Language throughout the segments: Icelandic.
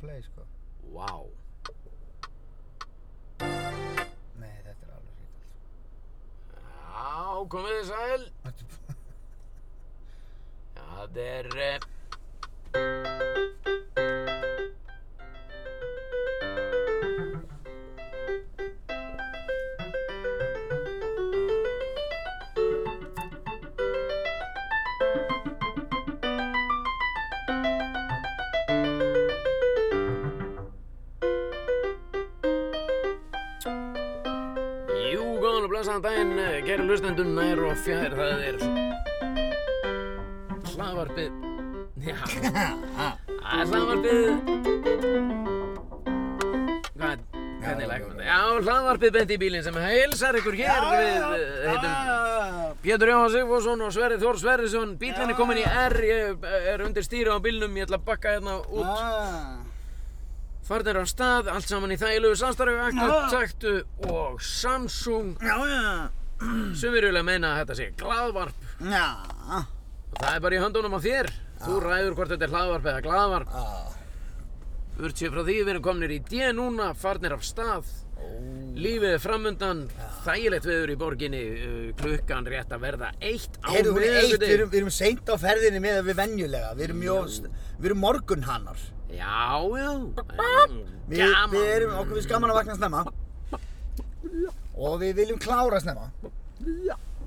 play sko Vá Nei, þetta er alveg ríkald sko. Já, komið þið sæl Þetta er bara- Já, þetta er eh, Jú, góðan og blessaðan daginn, eh, kæru hlustendum nær og fjær, það er hlaðvarpið. Já, það er hlaðvarpið. Hvað, hvernig Já, já, lækum þetta? Já, hlaðvarpið bent í bílinn sem heilsar ykkur hér við, eh, heitum Já, Pétur Jóhann Sigfússon og Sverri Þór Sverrisson. Bílinn er kominn í R, ég eh, er undir stýri á bílnum, ég ætla að bakka hérna Ah, út. já. Farnir á stað, allt saman í þægilegu samstarfi, Ah. akkur, taktu og Samsung. Já, já Sumir vilja meina að þetta sé glaðvarp Já og það er bara í höndunum á þér. Þú Ah. ræður hvort þetta er hlaðvarp eða glaðvarp. Já Burt sér frá því við erum komnir í D núna, farnir af stað. Lífið er framundan, þægilegt veður í borginni, uh, klukkan rétt að verða eitt á Heyrðu, hún er eitt, við miðvikudegi. erum, við erum seint á ferðinni með að við venjulega, við erum mjög, við erum morgunhannar. Já, já. Við, við erum, okkur finnst gaman að vakna snemma og við viljum klára snemma.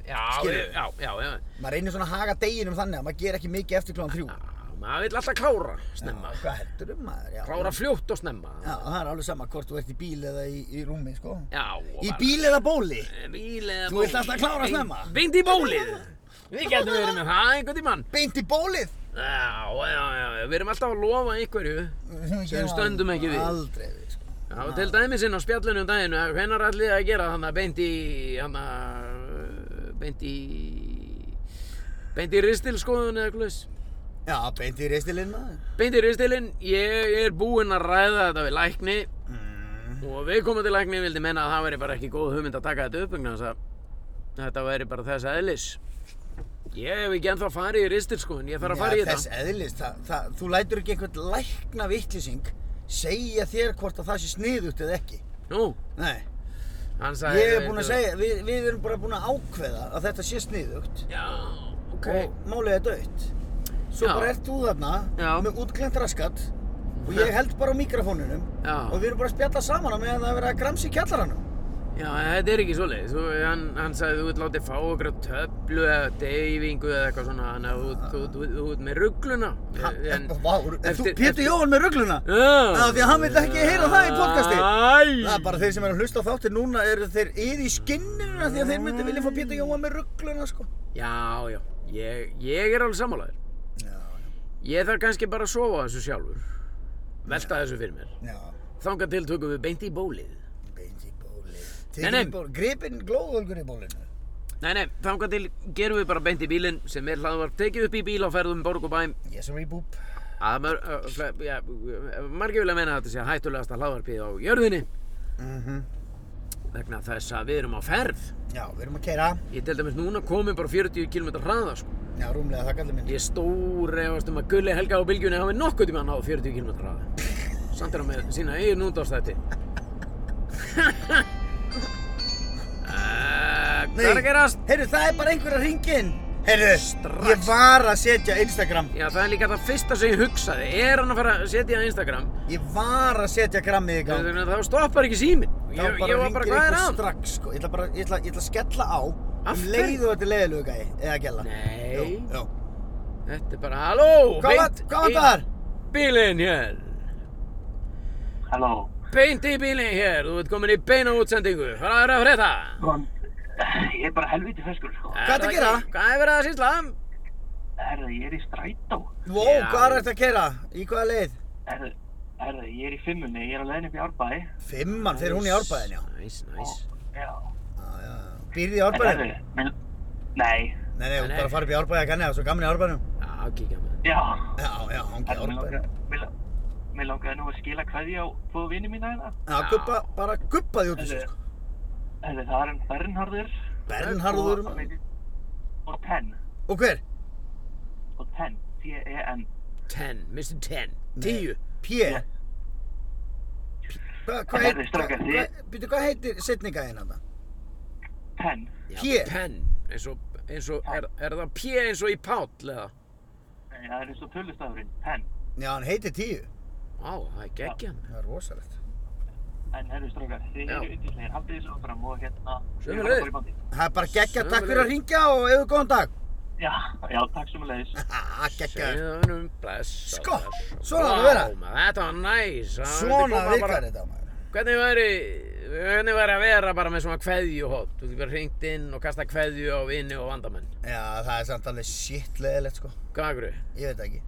Já, Skilurðu? við- já, já, já. Maður reynir svona að haga deginum þannig að maður ger ekki mikið eftir klóðan þrjú. Já, Maður vill alltaf klára snemma. Já, Hvað heldur um maður? Já. Klára fljótt og snemma. Já, það er alveg sama hvort þú ert í bíl eða í, í rúmi, sko. Já, og Í bara- bíl eða bóli? Bíl eða Þú vilt alltaf klára snemma. Beint í bólið. Við getum verið með það einhvern tímann. Beint í bólið? Já, já, já, já, við erum alltaf að lofa einhverju. Sem stöndum ekki við. Aldrei við, sko. Já, og til dæmis inn á spjallinu um daginn, að hvenær ætlið þið að gera þannig að beint í, þannig að, beint í, beint í ristilskoðun eða glus. Já, beint í reistilinn maður. Beint í ristilinn, ég er búinn að ræða þetta við lækni Mm. og við komum til lækni vildi menna að það væri bara ekki góð hugmynd að taka þetta upp vegna þess að þetta væri bara þess eðlis. Ég hef ekki ennþá farið í ristilskoðun, ég þarf að fara í Já, þetta. þess eðlis, það, það, þú lætur ekki einhvern lækna vittlýsing segja þér hvort að það sé sniðugt eða ekki. Nú, Nei, hann sagði... ég er búinn að segja, við, við erum bara búin að ákveða að þetta sé sniðugt Já, ok. og málið er dött. Svo Já. bara ert þú þarna Já. með útklent raskat og ég held bara á mikrofóninum Já. og við erum bara að spjalla saman á meðan það er verið að gramsa í kjallaranum. Já, þetta er ekki svoleiðis. Þú, hann, hann sagði þú ert látið fá okkur á töflu eða deyfingu eða eitthvað svona, þannig að þú- þú- þú- þú ert með ruggluna. Ha, En- Vá, en þú eftir- Pétur Jóhann með ruggluna? Já, Já, því að hann vill ekki heyra það í podcasti. Æ! Það er bara þeir sem eru að hlusta á þáttir núna eru þeir yfir í skinnina því að þeir myndi vilja fá Pétur Jóa með ruggluna sko. Já, já, ég, ég er alveg sammálaður. Já, Ég þarf kannski bara að sofa þessu sjálfur. Velta þessu fyrir mér. já, Þangað til tökum við beint í bólið. beint í bóli. Nei, nei. Tekin í bóli, gripinn glóðvölgur í bólinu. Nei, nei, þangað til gerum við bara beint í bílinn sem er hlaðvarp tekið upp í bíl á ferðum borg og bæm. Yes, reboob. Að mar, uh, fle- ja, margir vilja meina að þetta sé hættulegasta hlaðvarpið á jörðinni. Mm Mhm. -hmm. vegna þess að við erum á ferð Já, við erum að keira. ég til dæmis núna komin bara 40 km hraða sko. Já, rúmlega það kallar minn. ég stór efast um að Gulli Helga á bylgjunni hafi nokkuð tíma að ná 40 km hraða samt er hann með sína eigin útdáðstætti Eh, hvað er að gerast? Heyrðu, það er bara einhver að ringa inn. Heyrðu, Strax. ég var að setja Instagram. Já, það er líka það fyrsta sem ég hugsaði. Er hann að fara að setja á Instagram? Ég var að setja grammið í gang. Þannig að þá stoppar ekki síminn. Þá Ég, ég var bara, hringir hvað er einhver að? Strax, sko. Ég ætla bara, ég ætla, ég ætla að skella á. Af Um hverju? leiðu þetta leiðilegu gæi, eða gæla. Nei. Jú, jú. Þetta er bara, halló! Hvað var, beint hvað var í það þar? Bílinn hér! Halló, Beint í bílinn hér, þú ert komin í beina útsendingu. Hvað er að frétta? Ron. Ég er bara helviti feskur, sko. Hvað ertu að gera? Hvað er verið að sýsla? Herðu, ég er í strætó. Vó, Já. hvað er þetta að keira? Í hvaða leið? Herðu, herðu, ég er í fimmunni, ég er á leiðin upp í Árbæ. Fimman, fer hún í árbæðin, já. Næs, næs. Já. Já, já, já. Býrði í En árbæðin? herðu, minn... Nei. Nei, nei, hún Nei, bara nei. farið upp í árbæðin, kanni, það er svo gaman í árbæðinum. Já, kíkja með. Já. Já, já, hún Herðu, getur mér árbæðin. langaði, mér la- mér langaði nú að skila kveðja á tvo vini mína hérna. Já, guppa, bara guppaði út úr sér, Herðu, sko. herðu, það er hann Bernharður. Bernharður, og- Og Ten. og hver? Og Ten. T-E-N. Ten, Mr. Ten. Nei. Tíu. P. Hvað hva Hvað heitir, heyrðu, strákar, þið- hva, byrju, hvað heitir setningaðinn hann? Penn. Já, P. Penn, eins og, eins og, er, er það P eins og í Páll eða? Nei, Það er eins og tölustafurinn, penn. Já, hann heitir tíu. Á, það er geggjan. Það er rosalegt. En herru strókar, þið Já. eru yndislegir, haldið þessu áfram og hérna... við erum Sömuleiðis. bara í bandi. Það er bara geggja, takk fyrir Sömuleiðis. að ringja og eigðu góðan dag. Já, já, takk sem að leiðis. Haha, geggja. Segðu honum bless. Sko, bless. svona á að vera. Vá, maður, þetta var næs. hann vildi Svona koma bara- virkar þetta, maður. Hvernig væri, hvernig væri að vera bara með svona kveðjuhótt? Þú getur bara hringt inn og kasta kveðju á vini og vandamenn. Já, það er samt alveg shit leðilegt, sko. Hvað akkur er? Ég veit það ekki.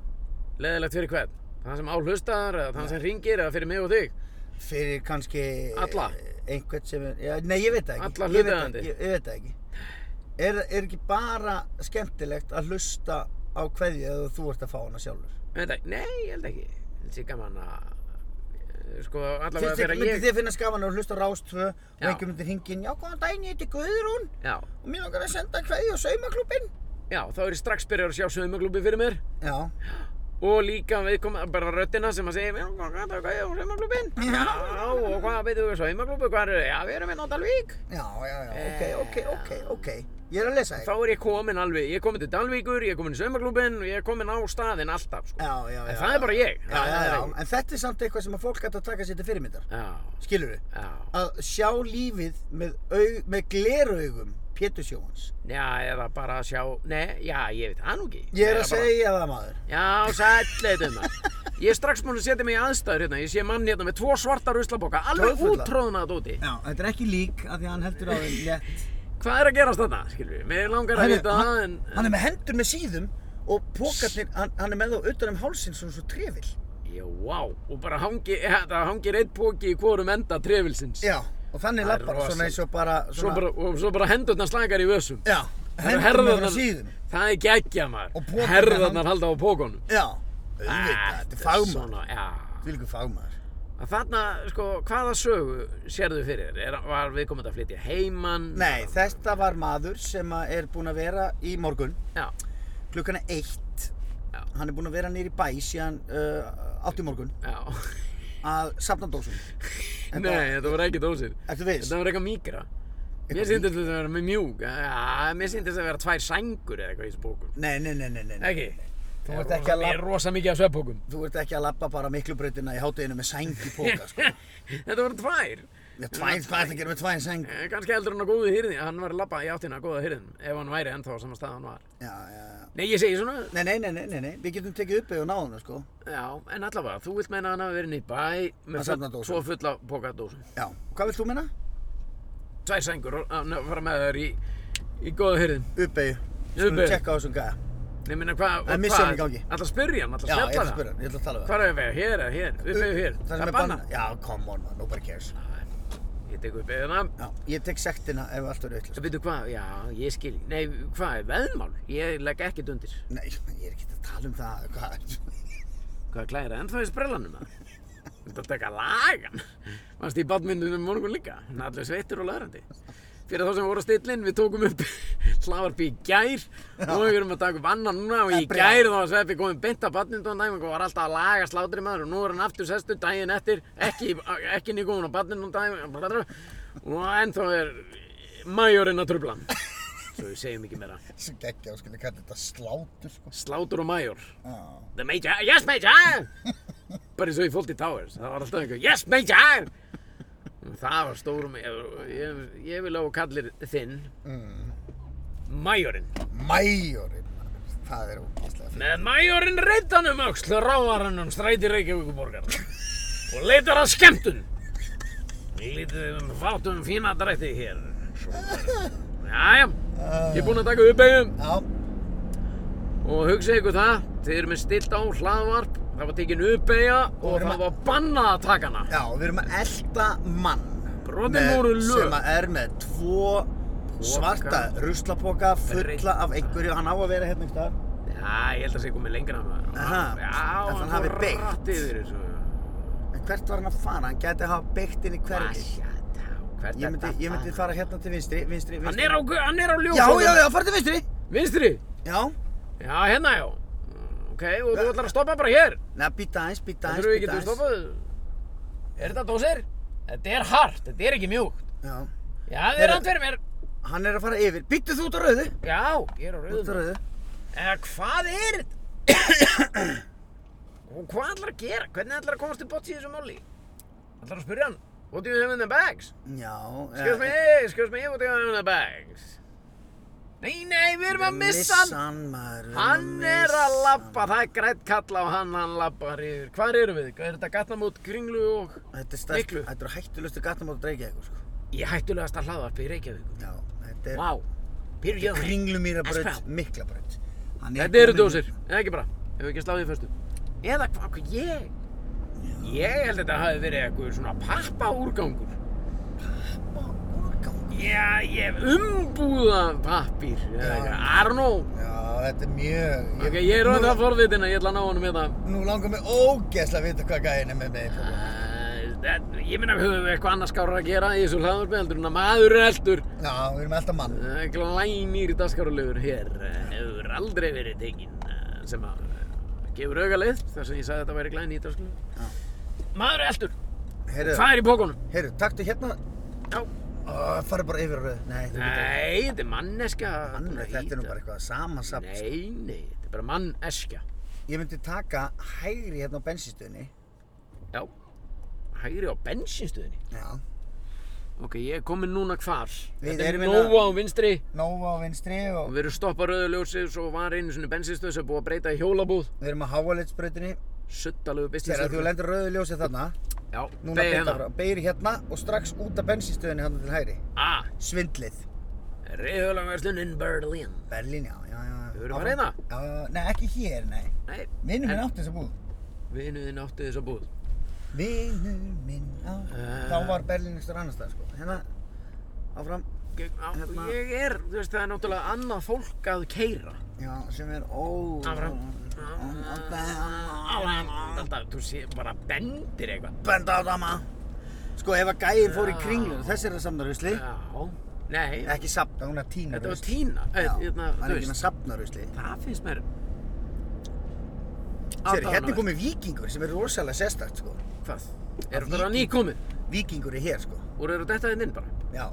Leðilegt fyrir hvern? Þann sem áhlustar eða þann sem hringir eða fyrir mig og þig? Fyrir kannski... eh, Alla? Einhvern sem er... Já, nei, ég veit það ekki. Ég Alla veit það hlutaðeigandi? ekki, Ég, ég veit það ekki. Er, er ekki bara skemmtilegt að hlusta á hverju eða þú ert að fá hana sjálfur? Veit það- Nei, ég held ekki. Ég held sér gaman að, sko, allavega Fyrst ekki fyrir myndi að ég... þið finna skafan að hlusta á Rástvö og Já. einhver myndi hringin, já góðan daginn, ég heiti Guðrún Já, og mér langar að senda hverju á saumaklúbin. já, þá er ég strax byrjar að sjá saumaglúpi fyrir mér Já, og líka viðkom bara röddina sem að segja, já, hvað er það, hvað er saumaglúpin? Já, og hvað veitum við saumaglúpi, hvað er það? Já, við erum við Dalvík. já, já, já, ok, Eh, ok, ok, ok. Ég er að lesa Þá þig. er ég komin alveg, ég er komin til Dalvíkur, ég er komin í saumaglúpin og ég er komin á staðinn alltaf, sko. Já, já, já. En það er bara ég. Já, já, Það er já, ekki. en þetta er samt eitthvað sem að fólk gæti að taka sér til fyrirmyndar. Já, Skilur við? já. Að sjá lífið með, aug, með gleraugum Pétur Sjóhans. Já, eða bara að sjá, nei, já, ég veit það nú ekki. Ég er Eða að bara- segja það maður. Já, sætleitum það. Ég er strax múin að setja mig í aðstæður hérna. Ég sé mann hérna með tvo svarta ruslaboka, alveg Troðfulla. útróðnað úti. Já, þetta er ekki lík af því að hann heldur á þeim létt. Hvað er að gerast þarna, skilur við? Mér langar að Hann er- vita það, en... Hann er með hendur með síðum og pókarnir, hann, hann er með þá utan um hálsinn svona svo trefill. Já, vá, og bara hangi, það hangir einn póki í hvorum enda trefilsins. Já, og þannig Það er lappar hann rosalegt. svona eins og bara... Svo Svona, bara, og svo bara hendurnar slakar í vössum. Já, Það eru hendur með herðarnar- frá síðum. Það er geggja Og maður. pokarnir Herðarnar hang- halda á pókonum. Já, auðvitað, þetta er fagmaður. Svona, já. Vilku fagmaður. Að Þarna, sko, hvaða sögu sérðu fyrir þér? Er- Var við komið að flytja heiman? Nei, þetta var maður sem að er búinn að vera í morgun, Já, klukkana eitt. Já. Hann er búinn að vera nýri bæ síðan uh, átt í morgun já. að safna dósum. Nei, þetta var ekki dósir. Ertu viss? Þetta var eitthvað mýkra. Mér Eitthvað sýndist þetta að vera mjög mjúk. Já, mér sýndist að vera tvær sængur eða eitthvað í þessu bókum. Nei, nei, nei, nei, nei. nei. Ekki? Þú ert ekki að Ég er labba, rosa mikið af svefbókum. þú ert ekki að labba bara miklubrautina í hátteginu með sæng í póka, sko. þetta var tvær. Með tvæn, hvað er það að gera með tvæn sæng? Eh, Kannski heldur hann á góðu hýrðin. Hann var að labba í áttina að góða hýrðin ef hann væri ennþá á sama stað hann var. Já, já, já. Nei, ég segi svona. Nei, nei, nei, nei, nei, nei, við getum tekið upp eða náðuna, sko. Já, en allavega, þú vilt meina að hann hafi verið inn í Að bæ með safna full, dósum. svo fulla bókadósum. Já, hvað vilt þú minna? Tvær sængur og að fara með þær í, í góða hýrðin. Uppeyju. Skulum Uppeyju. tjekka á þessum gæja. Ég meina hvað... Það er misjón í gangi. Alltaf spyrja hann, alltaf Já, ég ætla spjalla að það. spyrja, hann, ég ætla að tala við hann. Hvað er að vera? Hér eða hér? Upp eða hér? Það sem er banna? Já, come on man, nobody cares. Ég tek upp eða það. Já, ég tek sektina ef allt verður Það auðvitað. veitu hvað? Já, ég skil. Nei, hvað er veðmál? Ég legg ekkert undir. Nei, ég er ekki að tala um það, hvað? Hvað klæðir það? Ennþá í sprellanum það? Þetta að taka lagan. Manst í badmyndunum um morgun líka. Hann er allir sveittur og lagrandi. Fyrir þá sem voru að stilla inn, við tókum upp hlavarpi í gær og við erum að taka upp annan núna og í Brjál. gær þá var Sveppi komið beint að badmyndunum og var alltaf að laga slátri maður og nú er hann aftur sestu daginn eftir, ekki, ekki nýkomin á badmyndunum og ennþá er majorinn að trubla hann. Svo við segjum ekki meira. Svo geggja, skilja, hvað þetta slátur, sko. Slátur og major. Já. The Major, yes Major! Bara eins og í Fawlty Towers, það var alltaf einhver, yes Major! Það var stórum, ég, ég, ég vil á að kallir þinn, Majorinn. Mæjorinn, maður, það er ógæslega fyrir. Með Majorinn reytan um öxl ráðar hann um stræti Reykjavíkuborgar og leitar að skemmtun. Lítið um fátum fína drætti hér. Jæja, ég er búinn að taka uppeyjum. Já, Og hugsa ykkur það, þið erum með stilt á hlaðvarp, það var tekin uppeigja og, erum það að- var bannað að taka hana. já, við erum að elda mann. Brotin með- voru lög. Sem að er með tvo svarta ruslapoka fulla af einhverju, hann á að vera hérna einhvers staðar. Já, ég held að það sé komið lengra maður. Aha, Já, að hann hafi fór beygt. hratt yfir þessu. En hvert var hann að fara? Hann gæti að hafa beikt inn í hverfið. Asja, tá, hvert Ég myndi, ég myndi fara hérna til vinstri, vinstri, Hann vinstri. er hérna. á, gu- hann er á ljósum. Já, já, já, farið til vinstri. Vinstri? Já. Já, hérna já. Mm, Ok, og þú ætlar að stoppa bara hér. Nei, býta aðeins, býta Það aðeins, þurfum við býta getum aðeins. stoppað. Er þetta dósir? Þetta er hart, þetta er ekki mjúkt. Já. Já, þið Heyrðu. er andverið mér. Hann er að fara yfir. Býttu þú út á rauðu? Já, ég er á Út á rauðum. rauðu. En hvað er þetta? Og hvað ætlar að gera? Hvernig ætlar að komast til botts í þessu máli? Ætlar að spyrja hann, what do you have in the bags? Já. Excuse me, eh, excuse me, what do you have in the bags? Nei, nei, við erum að missa hann. hann, maður. við erum Hann er missa að labba, hann. það er grætt kalla á hann, hann labbar yfir. Hvar eru við? Er þetta gatnamót, kringlu og... Þetta er stærst. Miklu. Þetta er hættulegustu gattamót að dreikja eitthvað, sko. Ég hættulegast að hlaðvarpi í Reykjavík. Já. Þetta er Vá, pyrr ég það. kringlumýrabraut, Aspa. miklabraut. Hann Þetta eru kominn- dósir, eða ekki bara, ef ekki sláðið fyrstu. Eða hvað, hvað ég? Ég held að þetta hafi verið eitthvað svona pappaúrgangur. Ó, úrgangur. Já, ég hef umbúðan pappír, eða Já. eitthvað, Arnó. Já, þetta er mjög... Ok, ég er Nú- orðið að forvitin að ég ætla að ná honum hérna. Nú langar mig ógeðslega að vita hvað gæðin er með mig. í fótbolta. Uh, þetta- Ég minna, höfum við eitthvað annars skára að gera í þessu hlaðvarpi heldur en að maður er eldur. Já, við erum alltaf mann. Eh, glænýr dagskáralegur hér eh, hefur aldrei verið tekinn eh, sem að eh, gefur auga leið þar sem ég sagði að þetta væri glænýr Já. dagskáralegur maður er eldur, Heyrðu, hvað er í bókunum? heyrðu, taktu hérna. Já. Ó, farðu bara yfir á rauð. Nei, þú getur ekki. nei, þetta er manneska Mann, búin að þetta er nú hýta. bara eitthvað samansapt. sko. nei, nei, þetta er bara manneska Ég myndi taka hægri hérna á bensinstöðinni. já, hægri á bensinstöðinni Já. ok, ég er komin núna hvar Við þetta er erum hérna- nóa á vinstri Nóa á vinstri og og við erum stoppað rauðuljósið svo var einu svona bensinstöð sem er búið að breyta í hjólabúð við erum á háalitsbrautinni. Þegar suttalegu þú bensinstöð lendur rauðu ljósið þarna, já, núna beygja beint hérna. áfram. Beygir hérna og strax út af bensinstöðinni hérna til hægri. Ah, Svindlið. Riðulangarslunin Berlin Berlín, já, já, já. Hefurðu Áfram. farið hérna? Já, já, nei, ekki hér, nei. Nei, Vinur minn En- átti þessa búð. vinuðin átti þessa búð Vinur minn á... Eh. Þá var Berlín einhver annars staðar, sko. Hérna, áfram. Ég- á- Hérna- Ég er, þú veist, það er náttúrulega annað fólk að keira Já, sem er ó... Áfram. Áfram. Þetta, þú sé, bara bendir eitthvað Benda á dama. Sko, ef að gæir fór í kringlun, þessi er að samna rusli. Já, nei, Ekki sapna, hún er tína þetta var tína Eh, hérna, hann er Þú ekki með veist, sapna rusli. það finnst mér Sér, hérna er Aðdáunarvert. komið vikingur sem er rosalega sérstakt, sko. Hvað? Er Að þetta víking- nýkomið? Vikingur er hér, sko. Voru þeir að detta þetta inn bara? Já.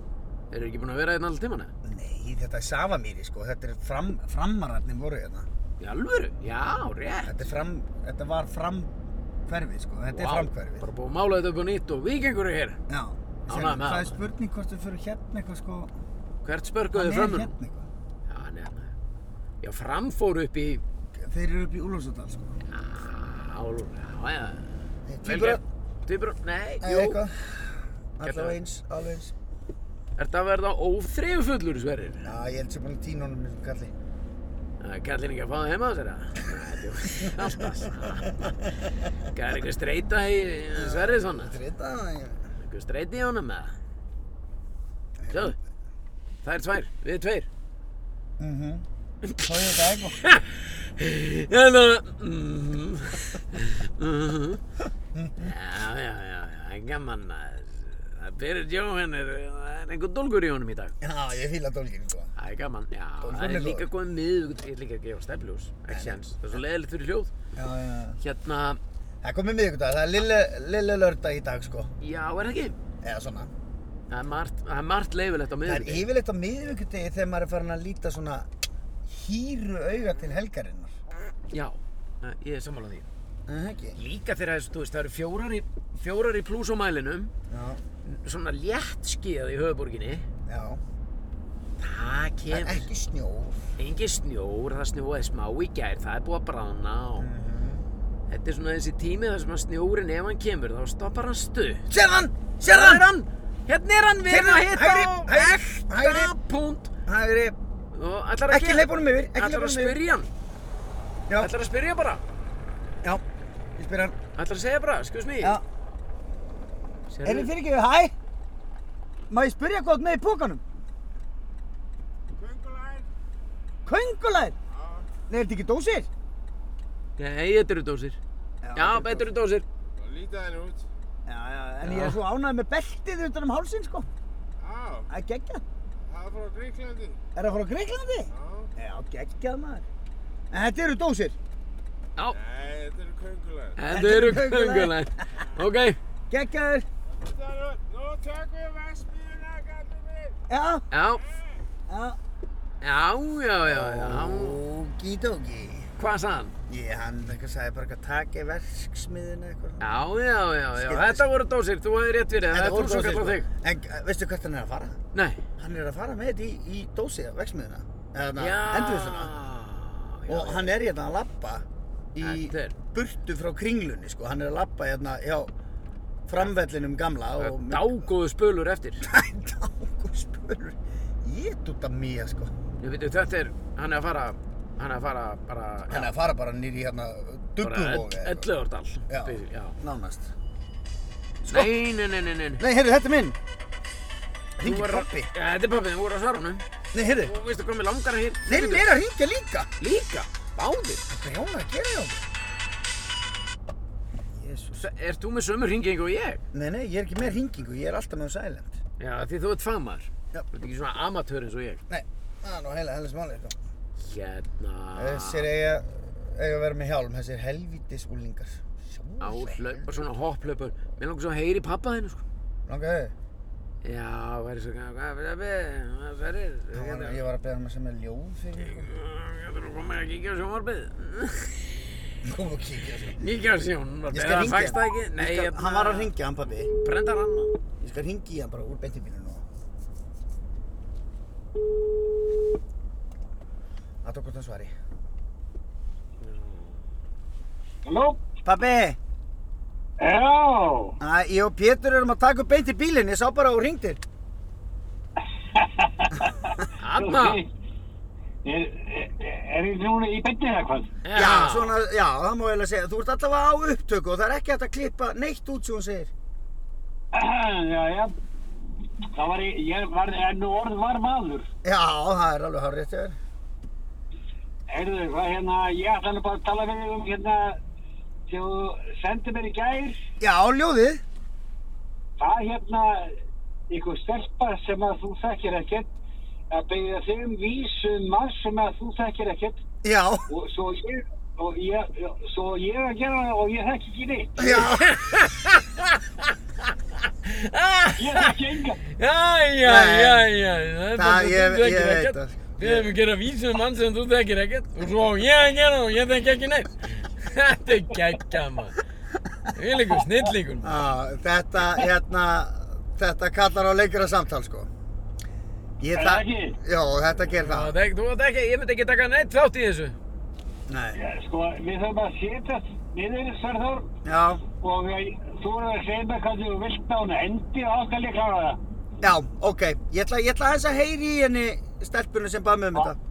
Eru ekki búin að vera hérna þetta allir tíman? Nei, þetta er Safamýri, sko. Þetta er fram, framararnir voru hérna. Í alvöru? Já, rétt Þetta er fram, þetta var framhverfið, sko. Þetta Vá, er framhverfið. Bara búið að mála þetta upp á nýtt og vikingur er hér Já. Sér, Ánægður með það hana. er spurning hvort við fyrir hérna eitthvað, sko. Hvert spörkuðu Hann er framun? hérna eitthvað. Já, hann er þarna. Já, fram fór upp í... Þeir eru upp í Úlfarsdal, sko. Já, já, já. Nei, Vel tvíburar. gert. Tvíburar, nei, Nei, jú. eitthvað. Gerðu Alltaf það. eins, alveg eins. Ertu að verða óþreifufullur, Sverrir? Já, ég held sér búin að tína honum þessum kalli. Kallin ekki að fá það heima á sér, að? Nei, djú, alltaf saman. Gæðir einhver streyta í Sverrir svona? Þetta er þetta. Einhver streyta í honum, eða? Sjáðu, það er tvær, við tveir. Mhm. Svo er þetta eitthvað. Hérna, mhm, mhm. Já, já, já, já, það er gaman að... Það byrjir Jóhann, er, það er einhver dólgur í honum í dag. Já, ég fíla dólgin, sko. Það er gaman, já, Dólfur það er er líka góður. góð miðugut, ég er líka að gefa stefljós, ekki séns, það er svo leiðilegt fyrir hljóð. Já, já, já. Hérna, Það er komið miðvikudag, það er lille, lille lördag í dag, sko. já, er það ekki? Eða svona. Það er margt, það er margt leiðilegt á Það er miðugut. yfirleitt á miðvikudegi þegar maður er farin að líta svona hýru auga til helgarinnar. Já, eh, ég er sammálað því. Er Það ekki? Líka þegar, það er- þú veist, það eru fjórar í, fjórar í plús og mælinum, Já, svona létt skíðað í höfuborginni, já. það Það er kemur, ekki snjór. engin snjór, það snjóaði smá í gær, það er búið að brána og Mhm. þetta er svona þessi tími þar sem að snjórin, ef hann kemur, þá stoppar hann stutt. Sér hann! Sér Hérna er hann! hann, hérna er hann, við erum að Hérna, hitta hægri, á hægri, ekta hægri. punkt Hægri, Og ætlar að Ekki hleypa honum yfir, ekki Ætlar hleypa að honum yfir. spyrja hann, já, ætlar að spyrja bara já. Ég spyr hann. Ætlar að segja bara, excuse me Já. Er þið fyrir ekki, hæ? Má ég spyrja hvað þú átt með í pókanum? Köngulæn, Köngulær? Nei, er þetta ekki dósir? Nei, þetta eru dósir Já, þetta eru dósir það lítið henni út. Já, já, en ég er svo ánægð með beltið utan um hálsinn, sko. Á, Það er geggjað. það er frá Gríklandi. Er það frá Greiklandi? Á, Já, geggjað maður. En þetta eru dósir. Já, nei, þetta eru köngulæn. þetta eru eru köngulær. köngulæn Ok, Geggjaður. Þetta er út. Nú tökum við vassbíluna, gallum minn. Já, Já, já. já, já, já, já. Ógídógi. Hvað sað hann? Ég, hann eitthvað sagði bara eitthvað taki verksmiðin eða eitthvað. svona. Já, já, já, já. Skiptis. Þetta voru dósir, þú hefði rétt fyrir. Þetta Þetta voru er þú sem dósir, kallar þig. sko. En eh, veistu hvert hann er að fara? Nei. Hann er að fara með þetta í, í dósið á verksmiðina. Eða Já. endurvisluna. já, Og já. hann er hérna að labba í Þetta er- burtu frá kringlunni, sko. Hann er að labba hérna, já, framvellinum gamla Það og... er Dágóðu spölur eftir. Dágur spölur. Ég dútt að mía, sko. Ég veit, þetta er, hann er að fara, hann er að fara bara... Hann er að fara bara nýri hérna dugguvógi. Elluðordal. Já. já. Nánast. Sko. Nei, nei, nei, nei, nei. Nei, heyrðu, þetta er minn. Þú Hringir var- pappi. Já, þetta er pappi, þú voru á svarunum. Nei, heyrðu. Og veistu hvað mér langar að hér? Linn er að hringja líka. Líka, báðir. Brjóna að gera hjá okkur. Jésús. Er þú með sömu hringingu og ég? Nei, nei, ég er ekki með hringingu, ég er alltaf með silent. Já, því þú ert fagmaður. Já. Þú ert ekki svona amatör eins og ég. Nei, það er nú heila hellis máli, sko. Hérna. Þessir eiga, eiga að vera með hjálm, þessir helvítis úlingar. Áhlaupar, svona hopplaupar. Mér langar svo að heyri pappa þinn, sko. Langa þau? Já, væri svo hvað, hvað, hvað, hvað, hvað, Ég var hvað, að beða hann að semja ljóð fyrir ykkur. Getur þú komið að kíkja á sjónvarpið? Kom og kíkja þessu. Kíkja á sjónvarpið, Ég skal það hringja. fækst það ekki? Nei, Ég skal, hann var að hringja, hann pabbi. Brendar hann? Ég skal hringja í hann bara úr beintimínu nú. Það tók hvort hann svari. Halló? Pabbi, Já, að, ég og Pétur erum að taka upp beint í bílinn, ég sá bara og hringdir. Anna! Er, er, er ég núna í beinni eða hvað? Já, svona, já, það má ég alveg segja. Þú ert allavega á upptöku og það er ekki hægt að klippa neitt út sem hún segir. Já, já. Það var ég, ég var, en nú orð var maður. Já, það er alveg hár rétt yfir. Heyrðu, hvað hérna, ég ætla nú bara að tala við þig um hérna, þegar þú sendir mér í gær, Já, ljóðið. það hérna, einhver stelpa sem að þú þekkir ekkert, að beigja þig um vísu um mann sem að þú þekkir ekkert Já, og svo ég, og ég, svo ég að gera það og ég þekki ekki neitt. já, Ég þekki engan. Jæja, Nei. jæja, Það- ég- ég veit það. sko. Við hefum gerað vísu um mann sem þú þekkir ekkert og svo á ég að gera það og ég þekki ekki neitt. Þetta er geggja mann. Við líkum snillíkur mann. á, þetta, hérna, þetta kallar á lengra samtal, sko. Ég Er þa- það ekki? Já, þetta ger Já, það. þek- Þú veit ekki, ég myndi ekki taka neitt þátt í þessu. Nei. Sko, við þurfum að setjast niður, Sverður, Já, og ég, þú verður að segja mér hvað þú vilt með hún endi og áskal ég klára það. já, ok. Ég ætla, ég ætla aðeins að heyri í henni stelpunni sem bað mig um þetta.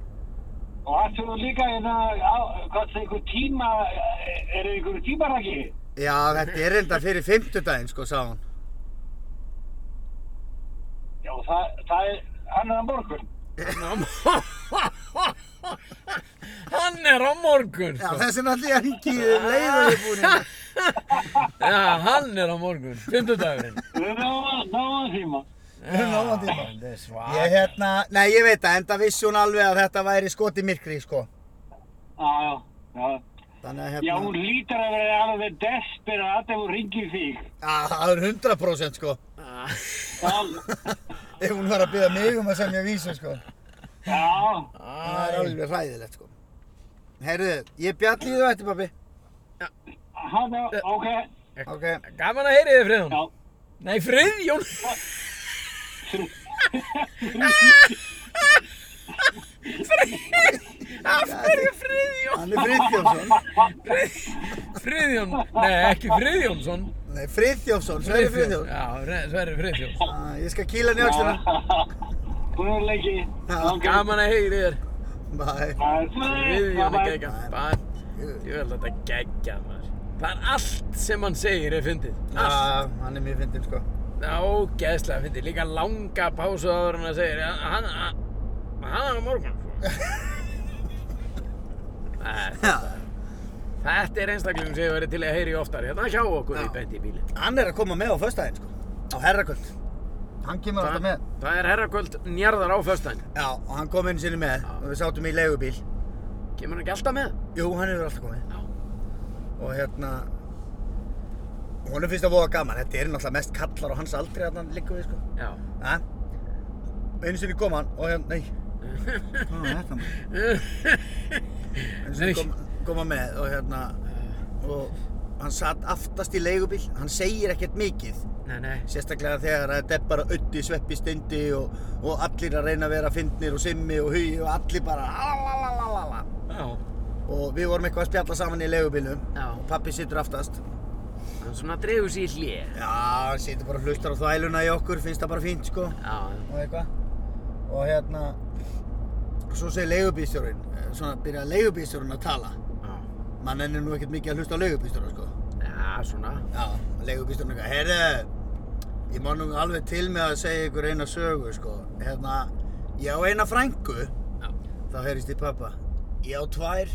Og það þurfum líka hérna, á- hvað það einhver tíma, er einhver tímaraki? Já, þetta er enda fyrir fimmtudaginn, sko, sá hún. Já, það, það er annan morgun. Hann á mo- Hann er á morgun, Já, sko. þessi náttúrulega ekki leiður í búinu. Já, hann er á morgun. Fymtudagurinn. Við erum náðan tíma. Nóðan tíma. Þetta er Ég svag. hérna, nei ég veit það, enda vissi hún alveg að þetta væri skoti myrkri, sko. Já, já, já. Þannig að Já, hérna, hún lítur að vera alveg desperat ef hún ringir þig. að það er 100% sko. Já, Ef hún var að byrja mig um að semja vísu, sko. já. Það er alveg hræðilegt, sko. Heyrðu, ég bjalli þú eftir, pabbi. Hann, ok, Ok. Gaman að heyri þið, Friðjón. já. Nei, Friðjón. Af hverju Friðjón? Hann er Friðþjófsson. Friðjón, nei ekki Friðjónsson. Nei, Friðþjófsson, Sverri Friðþjófsson. Já, Re- Sverri Friðjón. Ah, Ég skal kýla hann í öxlina. Hún er lengi. Gaman að heyri þér. Bæ. Friðjón er Friðjón geggja. Ég vel þetta geggja maður. Það er allt sem hann segir er fyndið. Allt. Ah, Hann er mjög fyndin, sko. Það er ógeðslega fyndið. Líka langa pásu áður en hann segir. "Ja, Hann, hann, hann er á morgun. sko." Þetta- Já. Þetta er einstaklingum sem ég verið til að heyri oftar. Hérna hjá okkur Já. í beint í bílinn. Hann er að koma með á föstudaginn, sko. Á herraköld. Hann kemur alltaf með. það er herrakvöld njarðar á föstudaginn. Já, og hann kom einu sinni með og við sátum í leigubíl. Kemur hann ekki alltaf með? Jú, hann hefur alltaf komið. Já. og hérna Honum finnst það voða gaman, þetta eru náttúrulega mest kallar á hans aldri að hann liggur við sko. Já. Ha? Einu sinni kom hann og hérna, nei. Hvað var þetta maður? Einu sinni Nei. kom, kom hann með og hérna, og hann satt aftast í leigubíl, hann segir ekkert mikið. Nei, nei. Sérstaklega þegar þetta er bara öddi sveppi stundi og, og allir að reyna að vera fyndnir og simmi og hugi og allir bara alalalalala. Já. Og við vorum eitthvað að spjalla saman í leigubílum Já. og pappi situr aftast. Hann svona dregur sér í hlje. Já, hann situr bara og hlustar á þvæluna í okkur, finnst það bara fínt sko. Já. og eitthvað og hérna og svo segir leigubílstjórinn eh, svona byrja leigubílstjórinn að tala Já. mann ennir nú ekkert mikið að hlusta á leigubílstjóra sko Já, svona. já og leigubílstjórinn eitthvað herðu ég má nú alveg til með að segja ykkur eina sögu sko hérna ég á eina frængu Já. þá heyrist í pappa ég á tvær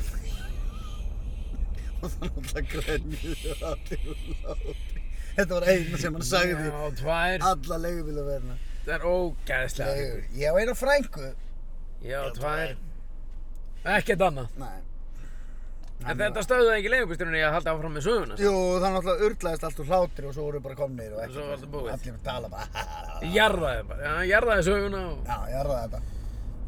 og það náttúrulega grenjuðu allir úr hlátri þetta var eina sem hann sagði Já, tvær. alla leigubílaverðina Það er ógæðislega. ég á eina frængu Já, tvær. Ekkert annað. Nei. En þetta stöðuði ekki leigubýsturinn í að halda áfram með söguna. Jú, það náttúrulega urlaðist allt úr hlátri og svo voru bara komnir og Og svo var þetta búið. Allir bara tala bara. Ég Jarðaði bara. Já, hann jarðaði söguna og... Já, ég erða þetta.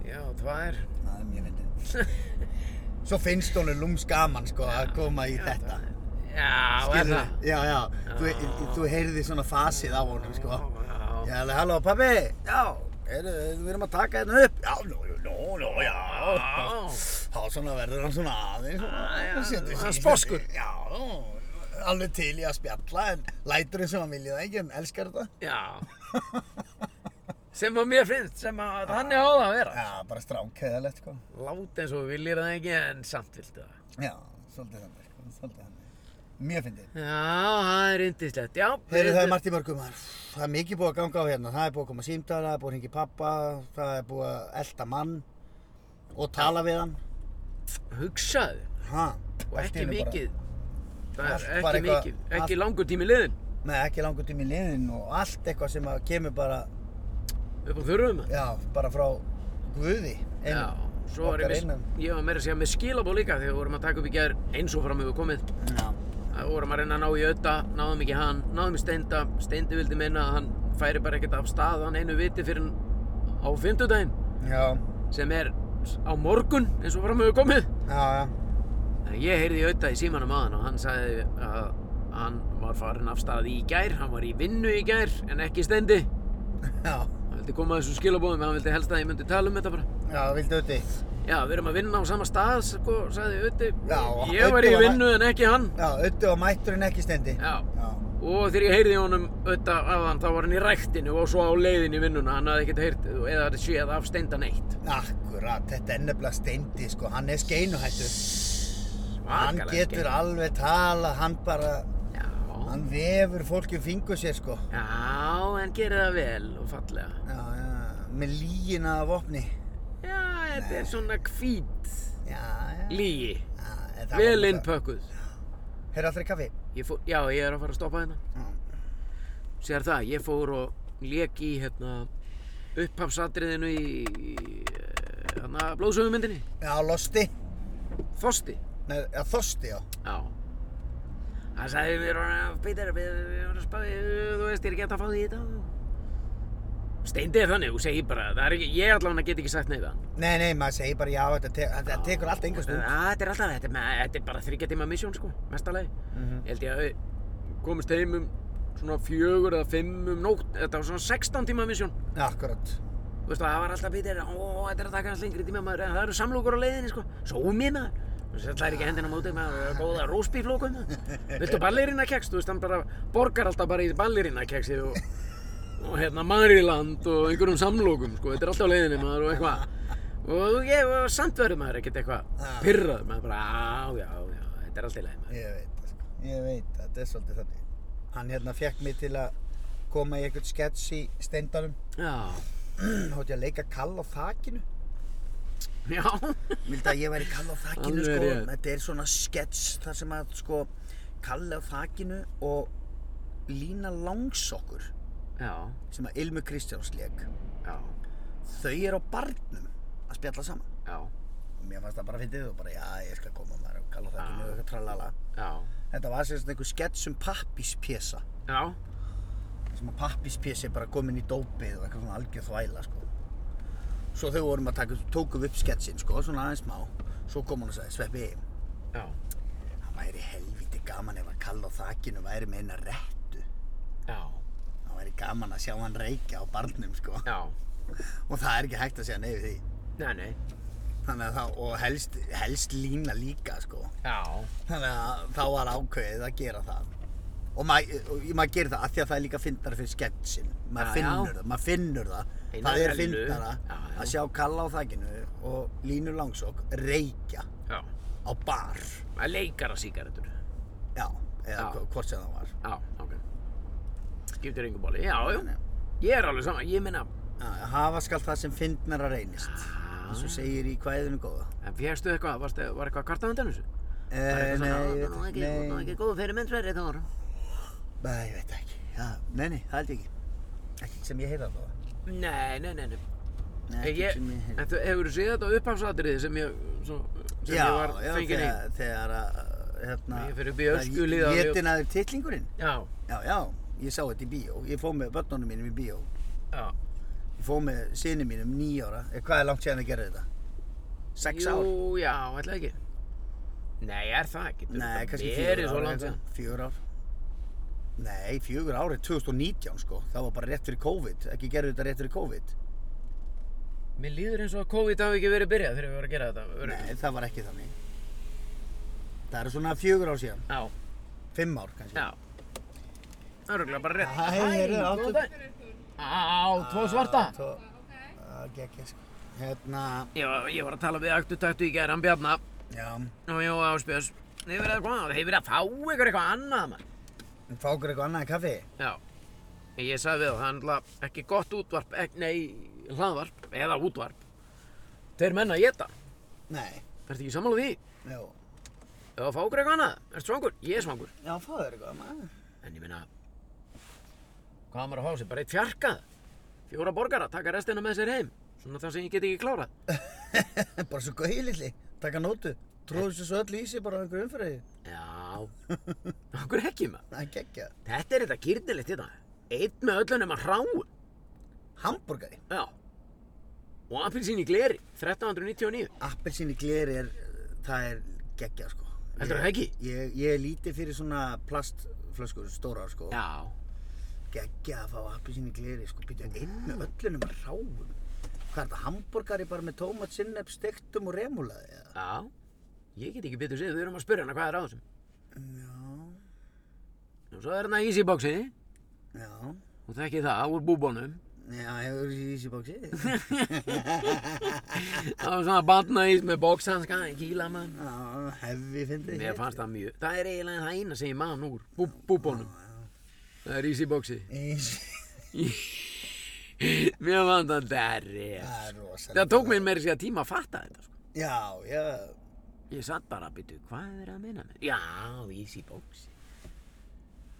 Já, tvær. Það er mjög myndið. Svo finnst honum lúms gaman sko að koma í þetta. Já, hérna. er Skilurðu? það? Já, já. Þú, þú heyrði svona fasið á honum sko. Já, Já, alveg, halló pabbi. Já. Heyrðu, við erum að taka hérna upp. Já, nú, nú, nú, já. já. Þá svona verður hann svona aðeins. Ah, já, og setur sig hann í- sposkur. Já, alveg til í að spjalla en lætur eins og hann vilja það ekki en elskar þetta. Já. Sem að mér finnst, sem að þannig á það að vera. Já, bara strákheðalegt sko. Láta eins og þú viljir það ekki en samt viltu það. Já, svolítið þannig sko, svolítið þannig. Mjög fyndið. Já, það er yndislegt, já. Heyrðu, það er margt í mörgum maður. Það er mikið búið að ganga á hérna. Það er búið að koma símdala, það er búið að hringja í pappa, það er búið að elda mann og tala við hann. Hugsaðu, Ha, og allt í ekki einu bara- mikið. Það er Allt ekki bara eitthvað- mikið, allt- ekki langur tími liðin. Nei, ekki langur tími í liðin og allt eitthvað sem að kemur bara, Upp á þurrum. já, bara frá Guði. Já, svo var ég, okkar með, einum. ég var meira að segja með skilabó líka þegar við vorum að taka upp í gær eins og fram hefur komið. Já, Það vorum að reyna að ná í ötta, náðum ekki hann, náðum í steinda, steindi vildi minna að hann færi bara ekkert af stað, hann einu viti fyrir hann á fimmtudaginn. já, sem er á morgun eins og fram hefur komið já, já. En ég heyrði auðvitað í símanum aðan og hann sagði að hann var farin af stað í gær hann var í vinnu í gær en ekki í stendi hann Já, vildi koma að þessum skilabóðum hann vildi helst að ég myndi tala um þetta bara já, vildu ötti? já, við erum að vinna á sama stað sko, sagði Ötti Já, ég var í Öddi var- vinnu en ekki hann Já, ötti og mætturinn ekki stendi. já. Já, og þegar ég heyrði honum auðvitað aðan þá var hann í ræktinu og svo á leiðinu í vinnuna hann hafði ekkert heyrt eða séð af steinda neitt akkurat, þetta er nefnilega steindi, sko, hann er skeinuhættur. Hann Svakalega getur skeið. alveg tala, hann bara, já. hann vefur fólki um fingur sér sko. já, en gerir það vel og fallega Já, já, með lígina af opni. Já, þetta er svona hvít Já, já. lígi, Já, en það var vel náttúrulega- innpökkuð. Heyrðu aldrei kaffi? Ég fór, já, ég er að fara að stoppa hérna. Mm. Sér það, ég fór og lék í hérna, upphafsatriðinu í, í eh, hérna, blóðsöfumyndinni, Já, losti. Þosti. Nei, já, þosti, já. Já. Það sagði mér að Peter, við við erum að spá, í- þú veist, ég er ekki hægt að fá því í þetta. Steindi er þannig, þú segir bara, það er ekki, ég allavega get ekki sagt neitt að hann. Nei, nei, maður segir bara já, þetta, te þetta tekur allt einhver stund. Já, þetta er alltaf, þetta er, með- þetta er bara þryggja tíma misjón sko, mestalagi. Mhm. Ég held ég að við komist heim um svona fjögur eða fimm um nótt, þetta var svona 16 tíma misjón. Akkurat. Þú veist það var alltaf býtir, ó, þetta er að taka hans lengri tíma maður, en það eru samlokur á leiðinni sko, sómi maður. Þú veist, það er ekki hendina á móti maður, það er góða rósbíflokum maður. Viltu ballerina keks, þú veist, hann bara borgar alltaf bara í ballerina keksið og, og hérna Mariland og einhverjum samlokum sko, þetta er alltaf á leiðinni maður og eitthvað. Og ég, og samt verður maður ekkert eitthvað Já. pyrraður, maður bara, á, já, já, þetta er alltaf í leiði maður. Ég veit það, sko. Ég veit það, þetta er svolítið þannig. Hann hérna fekk mig til að koma í einhvern sketch í steindanum. Já, Hátti að leika kall á þakinu. já, Vildi að ég væri kall á þakinu Alveg sko, rétt. þetta er svona sketch þar sem að sko kalli á þakinu og lína langsokkur já, sem að Ilmu Kristjáns leik. já, Þau eru á barnum að spjalla saman. já, Og mér fannst það bara fyndið og bara já ég skal koma maður og kalla á þakinu Ah. og eitthvað tralala. já, Þetta var sérst einhver sketsum pappispjesa Já, sem að pappispjesi bara komin í dópið og eitthvað svona algjör þvæla sko. Svo þegar við vorum að taka, tókum við upp sketsin sko, svona aðeins má Svo kom hún og sagði, Sveppi, já. það væri helviti gaman ef að kalla á þakinu væri með eina rettu Já, Það væri gaman að sjá hann reykja á barnum sko já. Og það er ekki hægt að segja nei við því Nei, nei. Þannig að það, og helst, helst lína líka sko Já, Þannig að þá var ákveðið að gera það. Og maður mað og maður gerir það af því að það er líka fyndara fyrir sketsin. Maður Já, finnur já. það, maður finnur það. Einar það er Bellu. fyndara Já, já. að sjá Kalla á þakkinu og Línu Langsokk reykja já. á bar. Að leikara sígarettur. Já, eða Já. já. hvort sem það var. Já, ok. Skiptir yngur bóli. Já, já. Þannig að- Ég er alveg saman. Ég minna, að Hafa skal það sem fyndnara reynist. Já. Eins og segir í kvæðinu góða. en férstu eitthvað, varstu, var eitthvað kvartað undan þessu? Eh, Var eitthvað svona, nei, "Þú ég ert nú veit ekki, þú ert nú ekki. ekki góð fyrir myndsverði þá ára. Nei, nei, ég veit það ekki. Já, nei, nei, það held ég ekki. Ekki sem ég heyrði á það. Nei, nei, nei, nei. Nei, En ekki ég, sem ég heyrði. en þú hefur séð þetta upphafsatriði sem ég, svo, sem já, ég var já, fengin í. þegar, þegar að hérna, Ég fer upp í öskulið á- Jétin að þér titlingurinn Já, Já, já, ég sá þetta í bíó Ég fóð með börnunum mínum í bíó já. Ég fóð með sinni mínum níu ára Eh, Hvað er langt séðan að gera þetta? Sex ár? Jú, já, ætla ekki. Nei, er það ekki. Nei, kannski fjögur fjögur svo ár langt eitthvað. síðan. Fjögur ár Nei, fjögur árið 2019 sko Það var bara rétt fyrir COVID Ekki gerðu þetta rétt fyrir COVID Mér líður eins og að COVID hafi ekki verið byrjað þegar við vorum að gera þetta. örugglega. Nei, það var ekki þannig Það eru svona fjögur ár síðan Já, Fimm ár kannski já. Örgulega bara rétt. Hæ, heyrðu, góðan áttu- daginn. Á, tvo svarta. Svo, að gegja sko. Hérna, Ég var, ég var að tala við aktu taktu í gerðan Bjarna já, og ég var áspjöðs. Þið verið að hvað? Þið verið að fá ykkur eitthvað annað maður. fá okkur eitthvað annað í kaffi? Já. Ég sagði við þá, það er náttúrulega ekki gott útvarp, ek, nei, hlaðvarp eða útvarp. Þeir menna að geta. Nei, Ertu ekki sammála því? já, Ef að fá ykkur eitthvað annað? Ertu svangur? Ég er svangur. já, fá þér eitthvað annað. En ég meina, hvað á maður að fá sér? Bara eitt fjarkað. Fjóra borgara, taka restina með sér heim. Svona það sem ég get ekki klárað. bara svo gauði litli, taka nótu, tróðu sér svo öll í sig bara á einhverju umfyrir. Já, okkur ekki maður. Það er gegja. Þetta er þetta kýrnilegt þetta. Eitt með öllunum að hráu. Hamburgari, Já. Og appilsín í gleri, 1399. appelsín í gleri er, það er gegja sko. Heldurðu það ekki? Ég, ég er lítið fyrir svona plastflöskur, stórar sko. Já. Gegja að fá appelsín í gleri sko, býtja inn með öllunum að ráum. Hvað er þetta, hamburgari bara með tómat, sinnepp, stektum og remúlaði eða? Já. Ég get ekki betur séð, við erum að spyrja hana hvað er á þessum. Já, Og svo er hana Easy Boxi, já. og þekki það, úr búbónum. Já, hefur þú í þessi bóksi? Það var svona batnaís með bókshanska, kýla mann. Já, hefði fyndið Mér fannst það mjög, það er eiginlega það eina sem ég man úr bú, búbónum. Það er Easy Boxi. Mér fannst það derri. Það er rosalega. Það tók mér meiri sér tíma að fatta þetta, sko. Já, já, Ég satt bara að byrja, hvað er að minna mig? Já, Easy Boxi.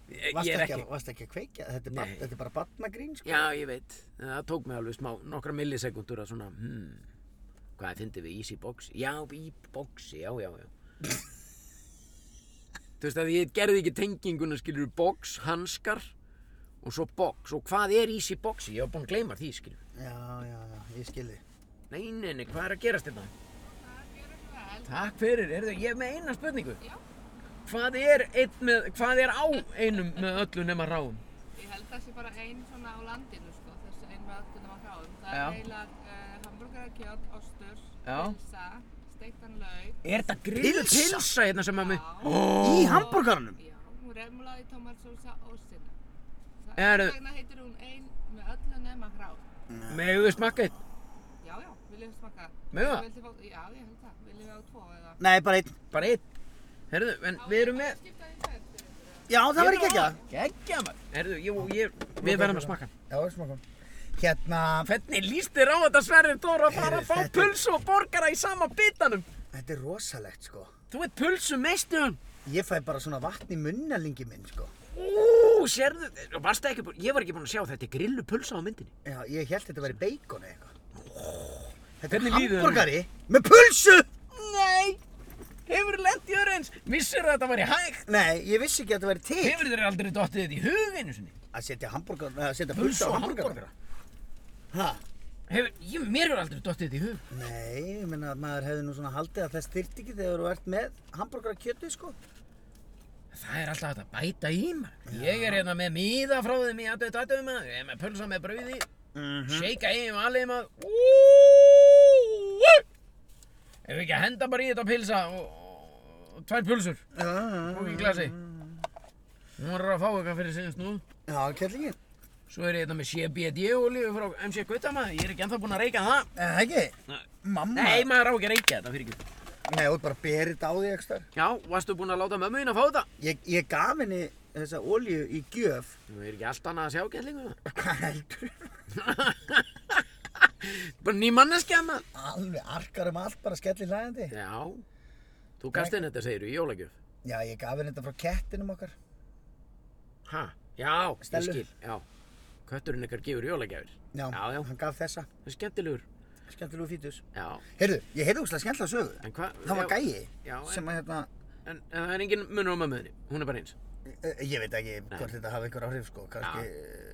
Ég, varst ég er ekki, ekki, ekki. Varst ekki að kveikja, þetta er, Nei. bara, þetta er bara batnagrín, sko. já, ég veit. Það tók mig alveg smá, nokkra millisekundur að svona, hmm, hvað fyndi við Easy Boxi? Já, í boxi, já, já, já. Þú veist að ég gerði ekki tenginguna, skilur, box, hanskar og svo box. Og hvað er Easy Boxi? Ég var búinn að gleyma því, skilur. Já, já, já, ég skilði. Nei, nei, nei, hvað er að gerast þetta? Takk fyrir, heyrðu, ég er með eina spurningu. Já. Hvað er, einn með, hvað er á einum með öllu nema ráum? Ég held að það sé bara ein svona á landinu sko, þessu ein með öllu nema hráum. Það Já. er eiginlega uh, hambúrgarakjöt, ostur, Já. pilsa, steiktan lauk, Er þetta grillu Pylsa? pilsa hérna sem að mig... Já. Í Oh. hamburgaranum? já, remulaði tomatsósa og sinna. Það Er- er vegna heitir hún ein með öllu nema hráum. Megum við smakka eitt? Já, já, viljum við smaka. Megum við? Viljum við? Já, ég held það. Viljum við á tvo eða? Nei, bara einn. Bara eitt. Heyrðu, en við erum með... Skipta í tveir fyrir þetta. Já, það var ekki ekki það. Gekkja maður. Heyrðu, ég, ég, við verðum að smakka. Já, ég smakum. Hérna, Hvernig líst þér á þetta Sverrir Dóra að fara að Heyrðu, fá þetta- pulsu og borgara í sama bitanum? þetta er rosalegt, sko. Þú ert pulsu meistun. Ég fæ bara svona vatn í munnalingi minn, sko. Ú, sérðu, varstu ekki búin, ég var ekki búin að sjá þetta er grillu pulsa á myndinni. Já, ég held þetta væri bacon eða eitthvað. Þetta Hvernig er líður þér? hamburgari með pulsu! Nei, hefur lent í öru aðeins, vissir að þetta væri hægt? Nei, ég vissi ekki að þetta væri til Hefur þér aldrei dottið þetta í hug einu sinni? að setja hambúrgar, að setja Pulsu pulsu á og hambúrgar. hambúrgara? Hæ? Hefur, ég, mér hefur aldrei dottið þetta í hug. Nei, ég meina að maður hefði nú svona haldið að þess þyrfti ekki þegar þú ert með hambúrgar sko. Það er alltaf hægt að bæta í maður. Ég er hérna með miða frá þeim í aðdöðu tattöðu maður, ég er með pulsa með brauði, Mhm. shakea í um alveg maður. Úúúú! Ef við ekki að henda bara í þetta pilsa og, og, og tvær pulsur og í glasi. Hún var að fá eitthvað fyrir sinns nú. Já, kellingin. Svo er ég hérna með CBD olíu frá MC Gauta maður, ég er ekki ennþá búinn að reyka það. En það ekki? Nei. Eh, Mamma? Nei, maður á ekki að reykja þetta fyrir ekki. Nei, þú ert bara að bera þetta á því ekki starf. Já, varstu búinn að láta mömmu þín að fá þetta? Ég, ég gaf henni þessa olíu í gjöf. Þú er ekki allt annað að sjá gætlingu það. Hvað heldur? Bara ný manneskja maður. Alveg arkar um allt, bara skellir hlæðandi. Já, þú gafst henni þetta segir í jólagjöf. Já, ég gaf henni þetta frá kettinum okkar. Ha, já, ég Stellu. skil, já. Kötturinn ykkar gefur jólagjafir. Já, Já, já. hann gaf þessa. Það er skemmtilegur. Skemmtilegu fítus. Já, Heyrðu, ég heyrði úrslega skemmtilega sögu. en hvað? Það var já, gæi Já, en- sem að hérna, En, en það er engin munur á mömmuðinni, hún er bara eins. eh, ég veit ekki hvort þetta hafi einhver áhrif sko, kannski,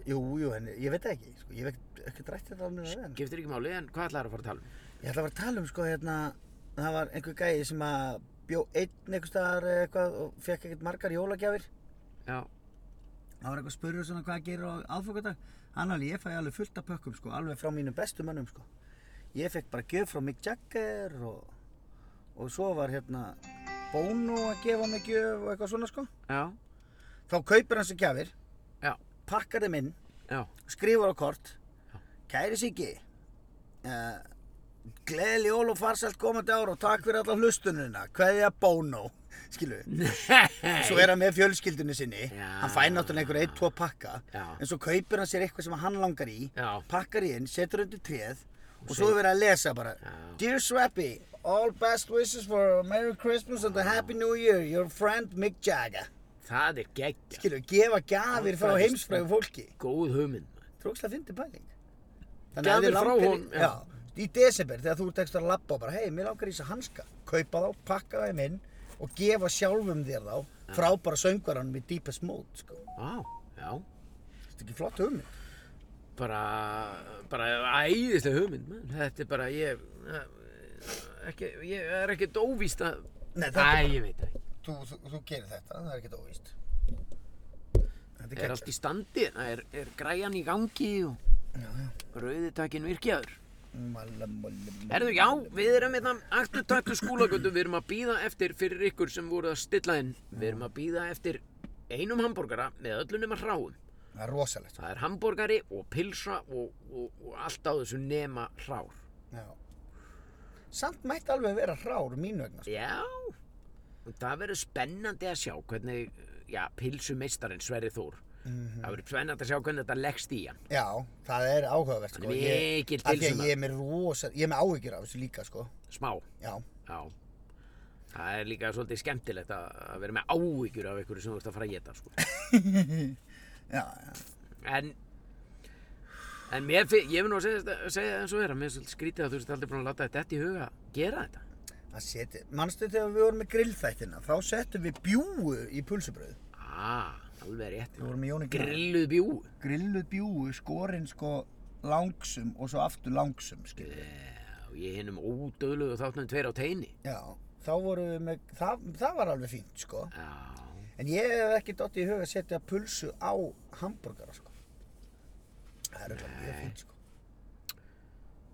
jú, jú, en ég veit það ekki, sko, ég hef ekki, ekki drætt þetta alveg við henni. Giftir ekki máli, en hvað ætlaður að fara að tala um? Ég ætla að fara að tala um sko hérna, það var einhver gæi sem að bjó einn einhver staðar eða eitthvað og fekk ekkert margar jólagjafir. Já, Það var eitthvað að spurja svona hvað gerir á aðfokadag. Hann alveg, ég fæ alveg fullt af pökkum sko, alveg frá mínum bestu mönnum sko. Ég fekk bara gjöf frá Mick Jagger og, og svo var hérna Bono að gefa mig gjöf og eitthvað svona sko. já, Þá kaupir hann sér gjafir, já, pakkar þeim inn, já. skrifar á kort. Kæri Siggi, uh, gleðli jól og farsælt komandi ár og takk fyrir alla hlustununa. Kveðja Bono, skilu við. Nei! Svo er hann með fjölskyldunni sinni, Já. hann fær náttúrulega einhver eitt, tvo pakka, Já. en svo kaupir hann sér eitthvað sem hann langar í, Já. pakkar í inn, setur undir tréð og svo er verið að lesa bara Dear Swappy, all best wishes for a Merry Christmas and a Happy New Year, your friend Mick Jagger. Það er geggja. Skilju, gefa gjafir frá Það er heimsfræðu fólki. Góð hugmynd. maður. Trókslega fyndi pæling. Gjafir ef þið frá langar í- honum, já. já. Í desember þegar þú ert ekstra að labba og bara, hei, mér langar í þess að hanska. Kaupa þá, pakka þeim inn og gefa sjálfum þér þá frá bara söngvaranum í Deepest Mode, sko. Vá, já. Þetta er ekki flott hugmynd. bara, bara æðislega hugmynd man. þetta er bara ég, eh, ekki, ég er ekkert óvíst að Nei, þetta Æ, er- ég veit það ekki. Þú, þú, þú gerir þetta, það er ekkert óvíst. Þetta er er gegn. allt í standi það er, er græjan í gangi og rauðitakin virkjaður Herðu, já, við erum hérna aktu taktu skúlagötu, við erum að býða eftir fyrir ykkur sem voru að stilla inn við erum að býða eftir einum hambúrgara með öllu nema hráum Það er rosalegt. það er hambúrgari og pilsa og, og, og allt á þessu nema hrár Já. Samt mætti alveg vera hrár mín vegna. sko. Já, og það verður spennandi að sjá hvernig, já, pilsumeistarinn Sverri Þór, Mhm. það verður spennandi að sjá hvernig þetta leggst í hann. Já, það er áhugavert sko. Hann er Ég- mikill af því að pilsumaður. Ég er með rosa, ég er með áhyggjur af þessu líka sko. Smá, Já. já. Það er líka svolítið skemmtilegt að að vera með áhyggjur af einhverju sem þú ert að fara að geta, sko. Já, já. En, en mér finn, ég vil nú að segja, þetta- segja eins og vera, mér er svolítið skrítið að þú ert aldrei búin að láta þetta í huga að gera þetta. Það seti, mannstu þegar við vorum með grillþættina, þá settum við bjúgu í pulsubröð. Ah, alveg rétt. Við vorum með Jóni Gnarr. Grilluð bjú. Grilluð bjúgu, skorinn sko langsum og svo aftur langsum, skiljið. Já, ég hinnum ódöðluðu þáttunum tveir á teini. Já, þá vorum við með, það, það var alveg fínt sko. Já. En ég hef ekki dottið í huga að setja pulsu á hambúrgara sko. Það er alveg mjög fínt sko.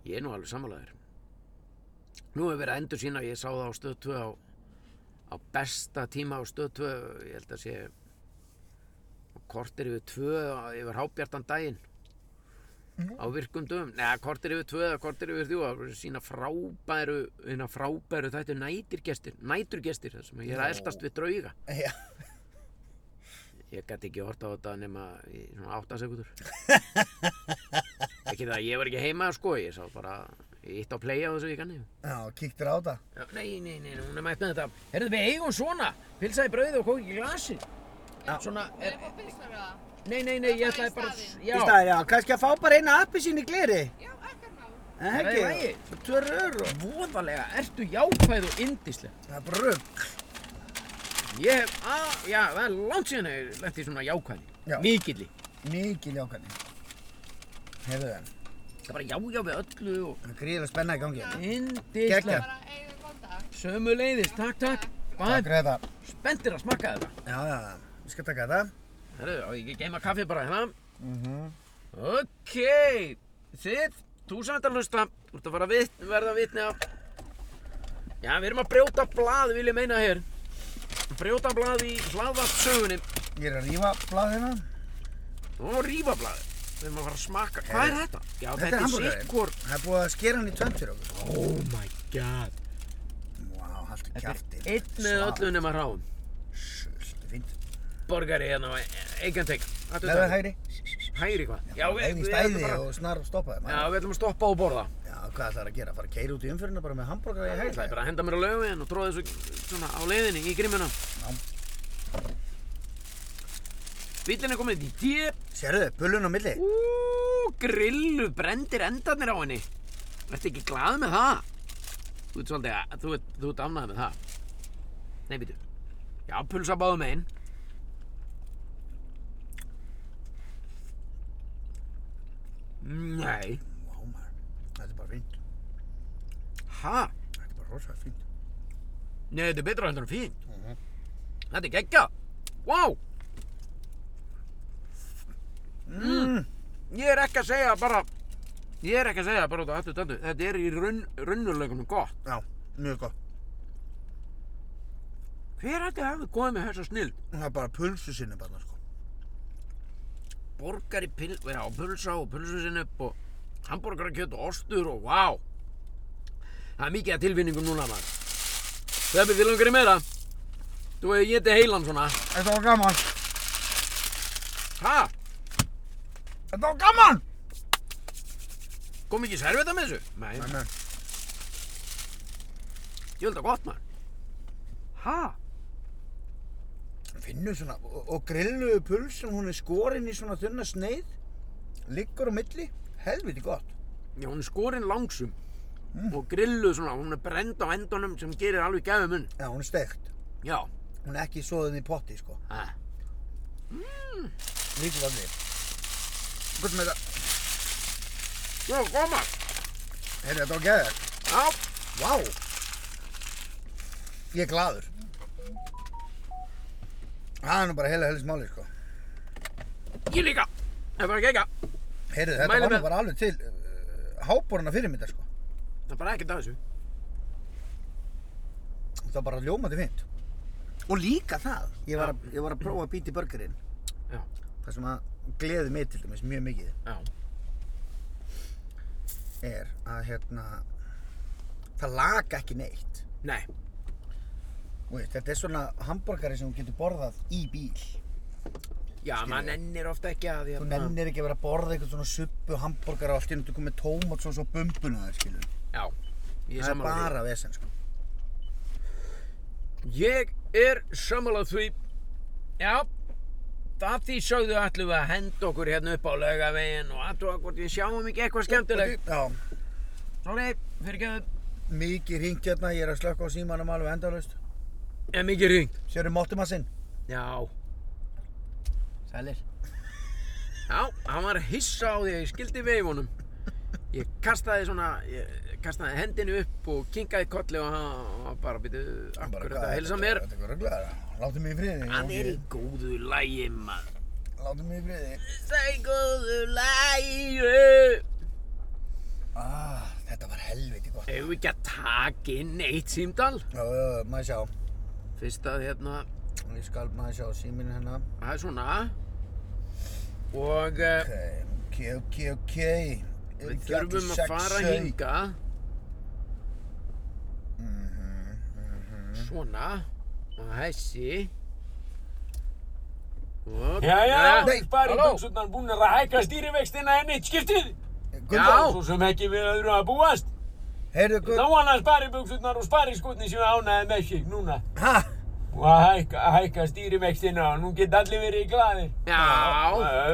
Ég er nú alveg sammálaður. Nú hefur verið að endur sína, ég sá það á stöð 2 á, á besta tíma á stöð 2, ég held að sé kortir yfir 2 á- yfir hábjartan daginn á virkum dögum, neða kortir yfir 2 eða kortir yfir 3, það voru sína frábæru, hérna frábæru þetta er nætirgestir, næturgestir þar sem ég er að eldast við drauga. Já, Ég gæti ekki hort á þetta nema í svona 8 sekundur. ekki það, ég var ekki heima sko, ég sá bara, ég ítt á play á þessu vikanni. já, kíktir á það. Já, Nei, nei, nei, nei, hún er mætt með þetta. Herðu, við eigum svona, pilsaði brauðið og kók í glasi. Svona, Er er, það pilsar eða? nei, nei, nei, ég Það ætlaði er bara, staðinn. Í já, staðar, já, kannski að fá bara eina appi sín í gleri. Já, ekkert mál. En Það er í ekki, lagi. tvö rör og voðalega, ertu jákvæð og indisleg. það er bara rugg. Ég hef, að, já, það er langt síðan að ég lenti í svona jákvæði. Já. Mikilli. Mikið ljókani. Hefðu það. Það er bara jájá við öllu og... Það er gríðilega spenna í gangi. hérna. Geggjað. Indislega. Bara eigið góðan dag. Sömu leiðis, takk, takk. Takk Hvað, fyrir þetta. spendir að smakka þetta. Já, já, já. Ég skal taka þetta. Herru, á ég ekki geima kaffi bara hérna. Mhm. Ok, þið, þú sem þetta hlusta, þú ert að fara að vit, verða að vitni af... Já, við erum að brjóta blað, vil ég meina hér. Brjóta blað í hlaðvart sögunni Ég er að rífa hérna. blaðina. og rífa blaðið. Við erum að fara að smakka. Hvað er þetta? Já, Þetta er þetta er hamborgarinn. sitt hvort. Það er búið að skera hann í tvönd fyrir okkur. Oh my god. Vá, haldur kjarti. Eitt með öllu nema ráðum. Sjöld, fínt. Borgari hérna á Eikantek. Leðið hægri. Hægri hvað? Já, við, Hægri við, stæði ætlum bara, og snar stoppaði. já, maður. við ætlum að stoppa og borða. Já, hvað ætlar að gera? Fara að keira út í umfyrirna bara með hambúrgara í Ég ætlaði hægri? bara að henda mér á laugin og tróða þessu svona á leiðinni í grimmuna. Já. Bíllinn er komið í djö. Sérðu, pullun á milli. Ú, grillu, brendir endarnir á henni. Ertu ekki glað með það? Þú ert svolítið að, þú ert, þú ert ánægð með það. Nei, býtu. Já, pulsa báðum einn. Nei. Vá, maður. Þetta er bara fínt. Ha? Þetta er bara rosalega fínt. Nei, þetta er betra heldur en fínt. Mhm. Þetta er geggja. Vá! Wow. Mm. Ég er ekki að segja bara, ég er ekki að segja bara út á öllu töndu. Þetta er í raun, raunurleikunum gott. Já, mjög gott. Hver ætti að hafa góð með þessa snild? Það er bara pulsu sinni bara, sko. borgari pil, já, pulsa og pulsusinup og hambúrgarakjöt og ostur og vá það er mikið að tilfinningum núna maður Sveppi, þið langar í meira þú hefur getið heilan svona Þetta var gaman. ha, Þetta var gaman! kom ekki serveta með þessu? nei, Nei, nei. ég held að gott maður ha, finnur svona, og, og grilluðu pulsun, hún er skorinn í svona þunna sneið, liggur á milli, helviti gott. já, hún er skorinn langsum og grilluð svona, hún er brend á endunum sem gerir alveg gæfum mun Já, hún er steikt. já, Hún er ekki soðin í potti, sko. ha. Mm, Líkið af því. Hvort með það, já, koma heyrðu þetta á geðar. já, Vá! Ég er gladur. Það er nú bara heila helis máli, sko. ég líka það er bara gegga, Heyrðu, þetta Mæli var nú með- bara alveg til uh, háborna fyrirmynda, sko. það er bara ekkert af þessu Það var bara ljómandi fint. Og líka það. Ég var að, ég var að prófa að býta í burgerinn. Já. Það sem að gleði mig til dæmis mjög mikið. já, er að hérna það laga ekki neitt nei, Þú veist, þetta er svona hambúrgari sem þú getur borðað í bíl já, maður nennir ofta ekki að hérna. því þú nennir ekki að vera að borða eitthvað svona suppu hambúrgari og allt í einu þú komið tómat svo svo bumbuna þér skilur Já, ég er það er sammálað því. bara vesen sko Ég er sammálað því. Já, það því sögðu ætlum við að henda okkur hérna upp á laugaveginn og aðtúa hvort við sjáum ekki eitthvað skemmtilegt. já, Sorry, fyrir ekki mikið hringt hérna ég er að slökka á símanum alveg endalaust En mikið ringt. sérðu móttumassinn Já. Sælir. Já, hann var hissa á því að ég skildi veifunum. Ég kastaði svona, ég kastaði hendinu upp og kinkaði kolli og hann var bara býtu, akkur þetta að heilsa mér. þetta er röglega láttu mig í friði Hann Jóki. er í góðu lægi, maður. láttu mig í friði Sægóðu lægu ah, þetta var helviti gott Hefur ekki að taka inn eitt símdal? já, já, já, maður sjá Fyrst að hérna, ég skal maður sjá síminu hérna það er svona Og uh, Ok, ok, ok. Eru við ekki allir þurfum að sex fara sau? hinga Mhm, mhm. Svona Og þessi Og Já, já, Nei, sparibuksurnar búnir að hækka stýrivextina enn eitt skiptið. Gunnþór, Svo sem ekki við öðru að búast. heyrðu Þá Gunn... annars sparibuksurnar og spariskutni sem ánæði með sig núna. Ha? Og að hækka, að hækka stýrivextina og nú get allir verið glæðir. Já,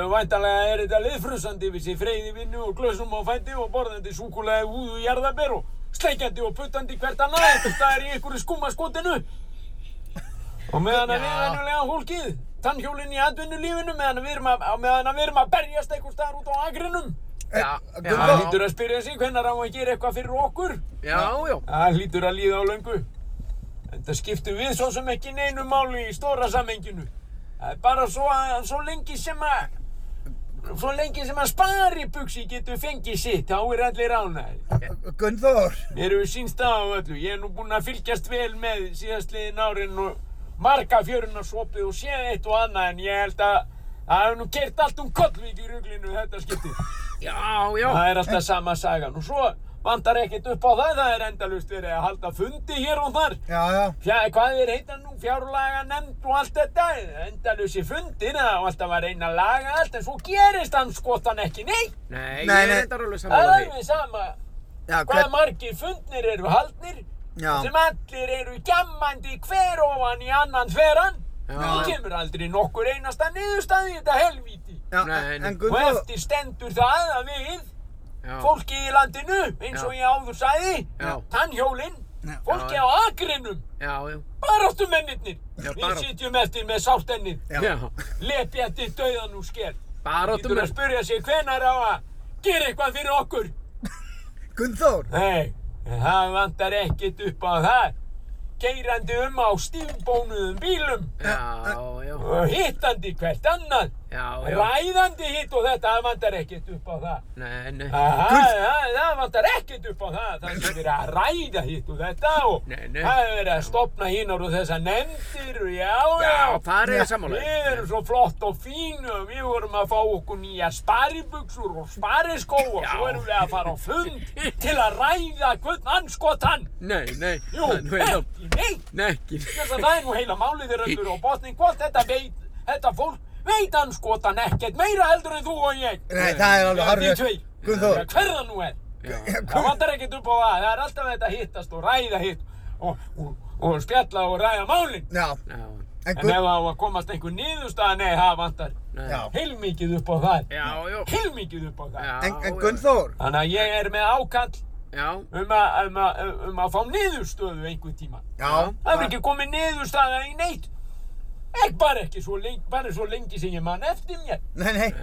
Væntalega er þetta liðfrusandi við sér freyði vinnu og glösum á fændi og borðandi súkulega úðu jarðaber og sleikjandi og puttandi hvert annað. Þetta er í einhverju skúmaskotinu. Og meðan að við Já. venjulega fólkið, tannhjólinn í atvinnulífinu, meðan að við erum að, á meðan að við erum að berjast einhver staðar út á agrinum. Já, já, Það hlýtur að spyrja sig hvenær á að gera eitthvað fyrir okkur. já, já. Það hlýtur að líða á löngu. En það skiptum við svo sem ekki neinu máli í stóra samenginu. Það er bara svo, að, svo lengi sem að, svo lengi sem að spari buksi getur fengið sitt, þá er allir ánægir. Gunnþór, Mér hefur sínst það á öllu. Ég hef nú búinn að fylgjast vel með síðastliðin árin og marga fjöruna svopið og séð eitt og annað en ég held að það hefur nú kert allt um kollvík í ruglinu þetta skipti. Já, já. Það er alltaf sama sagan og svo vantar ekkert upp á það. Það er endalust verið að halda fundi hér og þar. já, já, Fjá, hvað er heita nú? Fjárlaga nefnd og allt þetta. Endalusi fundir það og alltaf að reyna að laga allt en svo gerist hann skotan ekki neitt. Nei, Nei, ég er nei. þetta alveg Það er samanlega því. alveg sama já, hvað hvern, margir fundnir eru haldnir Já. sem allir eru gjammandi hver ofan í annan þveran það kemur aldrei nokkur einasta niðurstaði í þetta helvíti já, Nei, en- nei. en og Gunnþór, eftir stendur það að við Já. fólkið í landinu eins og Já. ég áður sagði Já. tannhjólinn Já. fólkið Já. á akrinum Já, já. baráttu mennirnir Já, við barátt- sitjum eftir með sártennið Já. Já. lepjandi dauðan úr sker Baráttum getur að er... spurja sig hvenar á að gera eitthvað fyrir okkur Gunnþór, Nei, það vantar ekkert upp á það. Geirandi um á stífbónuðum bílum Já, já. og hittandi hvert annað. Já, já. Ræðandi hitt og þetta, það vantar ekkert upp á það. Nei, nei. Aha, það, það vantar ekkert upp á það. Það er verið að ræða hitt og þetta og Nei, nei. það er verið að stopna hínar og þessa nefndir og já, já. Já, það er samanlega. Við erum svo flott og fínu og við vorum að fá okkur nýja sparibuxur og spariskó og Já. svo erum við að fara á fund til að ræða hvern anskotan. Nei, nei. Jú, Það er nú heila... ekki neitt. Nei, ekki. Þess að það er nú heila málið þeirra undur og botning hvort þetta veit, þetta fólk veit anskotan ekkert meira heldur en þú og ég. nei, það er alveg Þið harfið, tvei. Gunnþór, Hverða nú er? Já. Það vantar ekkert upp á það. Það er alltaf þetta að hittast og ræða hitt og, og, og spjalla og ræða málin. já, Já. en En ef Gunnþór, það á að komast einhver niðurstaða, nei, það vantar. Nei. já, heilmikið upp á það Já, já. heilmikið upp á það Já, en, en já. Gunnþór, þannig að ég er með ákall Já. um að, um að, um að fá niðurstöðu einhver tíma já, það er ekki komið niðurstaða í neitt ekki bara ekki svo lengi, bara svo lengi sem ég man eftir mér nei, nei,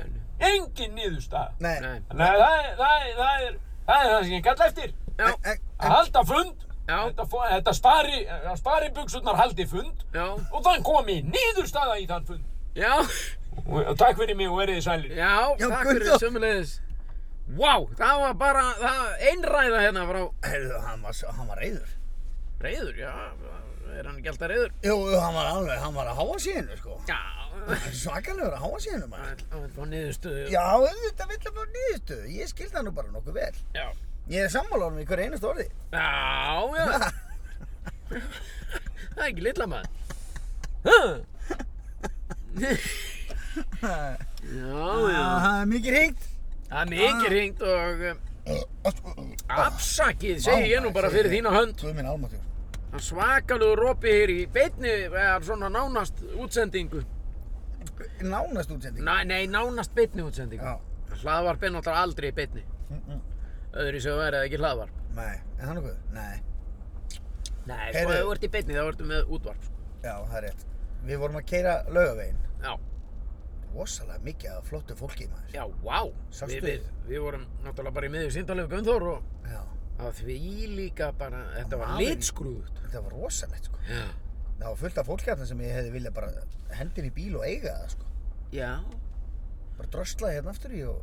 engin niðurstaða nei, Nei. þannig að það, er- það, er- það, er, það er það sem ég kalla eftir Já. en, en, að halda fund Já. þetta, fó- þetta spari, spari buksurnar haldi fund Já. og þann komi niðurstaða í þann fund Já. og, og takk fyrir mig og veriði sælir Já. Já, Takk Gunnþór. fyrir sömulegis. Vá, það var bara, það einræða hérna frá heyrðu, hann var, svo- hann var reyður, reyður, já, er hann ekki alltaf reyður? jú, jú, hann var alveg, hann var að háa síðinu, sko, Já, Hann er svakalegur að háa síðinu, hann maður, vill- hann vil fá niðurstöðu. já, auðvitað vill að fá nýðustuð, ég skil það nú bara nokkuð vel, Já, ég er sammála honum í hverju einast orði, já, já. það er ekki litla maður. Ha? já, já, það Ah, er mikið hringt, það er mikið hringt og um, afsakið, segi ég nú bara fyrir þína hönd. Guð minn almáttur. Það er svakalegur ropi hér í beinni, eða svona nánast útsendingu. Nánast útsending. Næ, nei, nánast beinni útsendingu. Já, Hlaðvarp er náttúrulega aldrei í beinni. Öðru sem verið það ekki hlaðvarp. nei, er það nokkuð? Nei, Nei, Heyrðu. sko, ef þú ert í beinni þá ertu með útvarp. sko. já, það er rétt. Við vorum að keira laugavegin. Já, Rosalega mikið af flottu fólki í maður. já, vá. Sástu Við, við, við vorum náttúrulega bara í miðju síndalegu Gunnþór og Já, það var því líka bara, þetta var Maðurinn. litskrúðut. þetta var rosalegt sko. Já. Það var fullt af fólki hérna sem ég hefði viljað bara hendin í bíl og eiga það sko. Já. Bara dröslaði hérna aftur í og...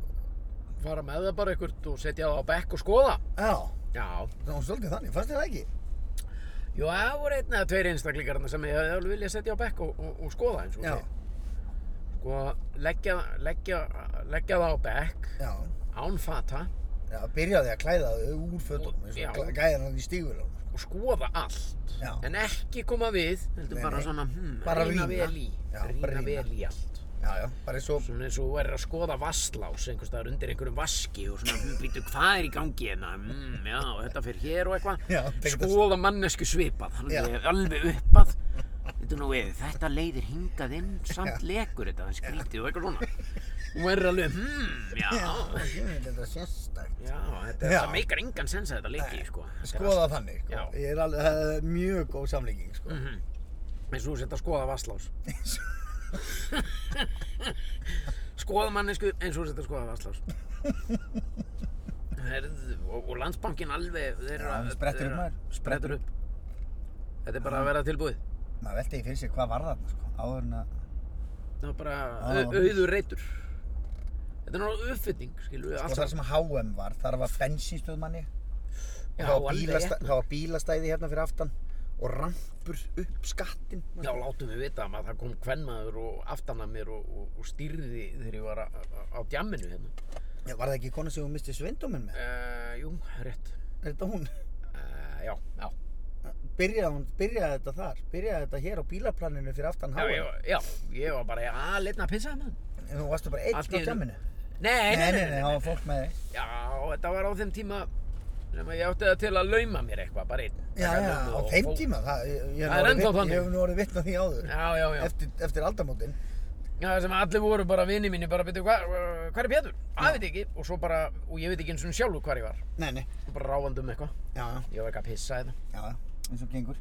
Fara með það bara einhvert og setja það á bekk og skoða. Já, Já. það var svolítið þannig, fannst þér það ekki? Jú, það voru einn eða tveir einstaklingarna sem ég hefði alveg viljað setja á bekk og, og, og skoða eins og Já, segir. Sko, leggja, leggja, leggja það á bekk, já. án fata Já, byrjaði að klæða þau úr fötunum, eins Já. og gla- gæðan hann í stígvélunum. og skoða allt. Já. En ekki koma við, heldur Nei, bara nei. svona, hmm, Bara rýna rýna. vel í. Já, bara rýna rýna. vel í allt. Já, já, bara eins og... Svona eins og þú verður að skoða vasslás einhvers staðar undir einhverjum vaski og svona, hm, býtu, hvað er í gangi hérna? Mm, já, þetta fyrir hér og Já, eitthvað. tekur þetta- Skoða mannesku svipað, Já. alveg, alveg uppað. Þetta nú við, þetta leiðir hingað inn, samt lekur þetta, það er skrítið og eitthvað svona. Þú verður alveg, hmm, já, ég myndi þetta sérstakt. já, þetta, Já. þetta meikar engan sens að þetta leiki, sko. Þetta er skoða þannig sko. Já. ég er alveg, það er mjög góð samlíking sko. Mhm. eins og þú sett að skoða vasslás skoða mannesku eins og þú sett að skoða vasslás Herðu, og, og landsbankin alveg þeir eru Já, að- hann sprettur upp, þeir eru að- maður. sprettur upp þetta er bara að vera tilbúið maður veldi ekki fyrir sér hvað var þarna sko, áður en að það var bara Já. au- auður reytur þetta er náttúrulega uppfitting skilu og þar sem HM var, þar var bensinstöð manni Já, það, var alveg bílastæ, rétt. það var bílastæði hérna fyrir aftan og rampur upp skattinn Já, látum við vita að það kom kvenmaður og aftan að mér og, og, og stýrði þegar ég var á, á djamminu hérna. Já, var það ekki kona sem hún misti svindóminn með? Uh, jú, rétt. Er þetta hún? Uh, já, já. Byrjaði, hún, byrjaði þetta þar? Byrjaði þetta hér á bílaplaninu fyrir aftan Já, háa? ég, var- já, ég var bara að leitna að pissa með En þú varstu bara einn Allt á í einu. tjamminu? Nei, Nei, nei, nei, það var fólk með þig. Já, þetta var á þeim tíma sem að ég átti það til að lauma mér eitthvað, bara einn. Já, Taka já, mömmu á og þeim fó- tíma, það, ég, ég, Það er hef nú orðið ennþá vitni- þannig. ég hef nú orðið vittna því áður, Já, já, já. eftir, eftir aldamótin. Já, það sem allir voru bara vini mínir, bara veitu hvað, hvað er Pétur? Það veit ég ekki. Og svo bara, og ég veit ekki eins og sjálfur hvar ég var. Nei, nei, Bara ráfandi um eitthvað. já, já, Ég var eitthvað að pissa eða. já, já, eins og gengur.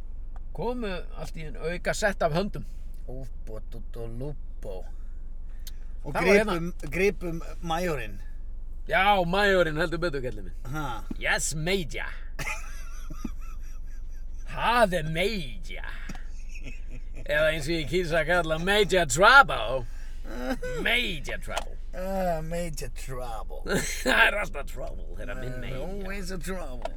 Komu allt í einu auka sett af höndum. Úbot og dolúbó. Og Það var hérna. gripum, gripum majorinn, Já, majorinn heldur betur kallið minn. ha, Yes, major. Það er major. Eða eins og ég kýsa að kalla major trouble. Major trouble. ah, major trouble, Ah, Það er alltaf trouble þegar minn major. always a trouble.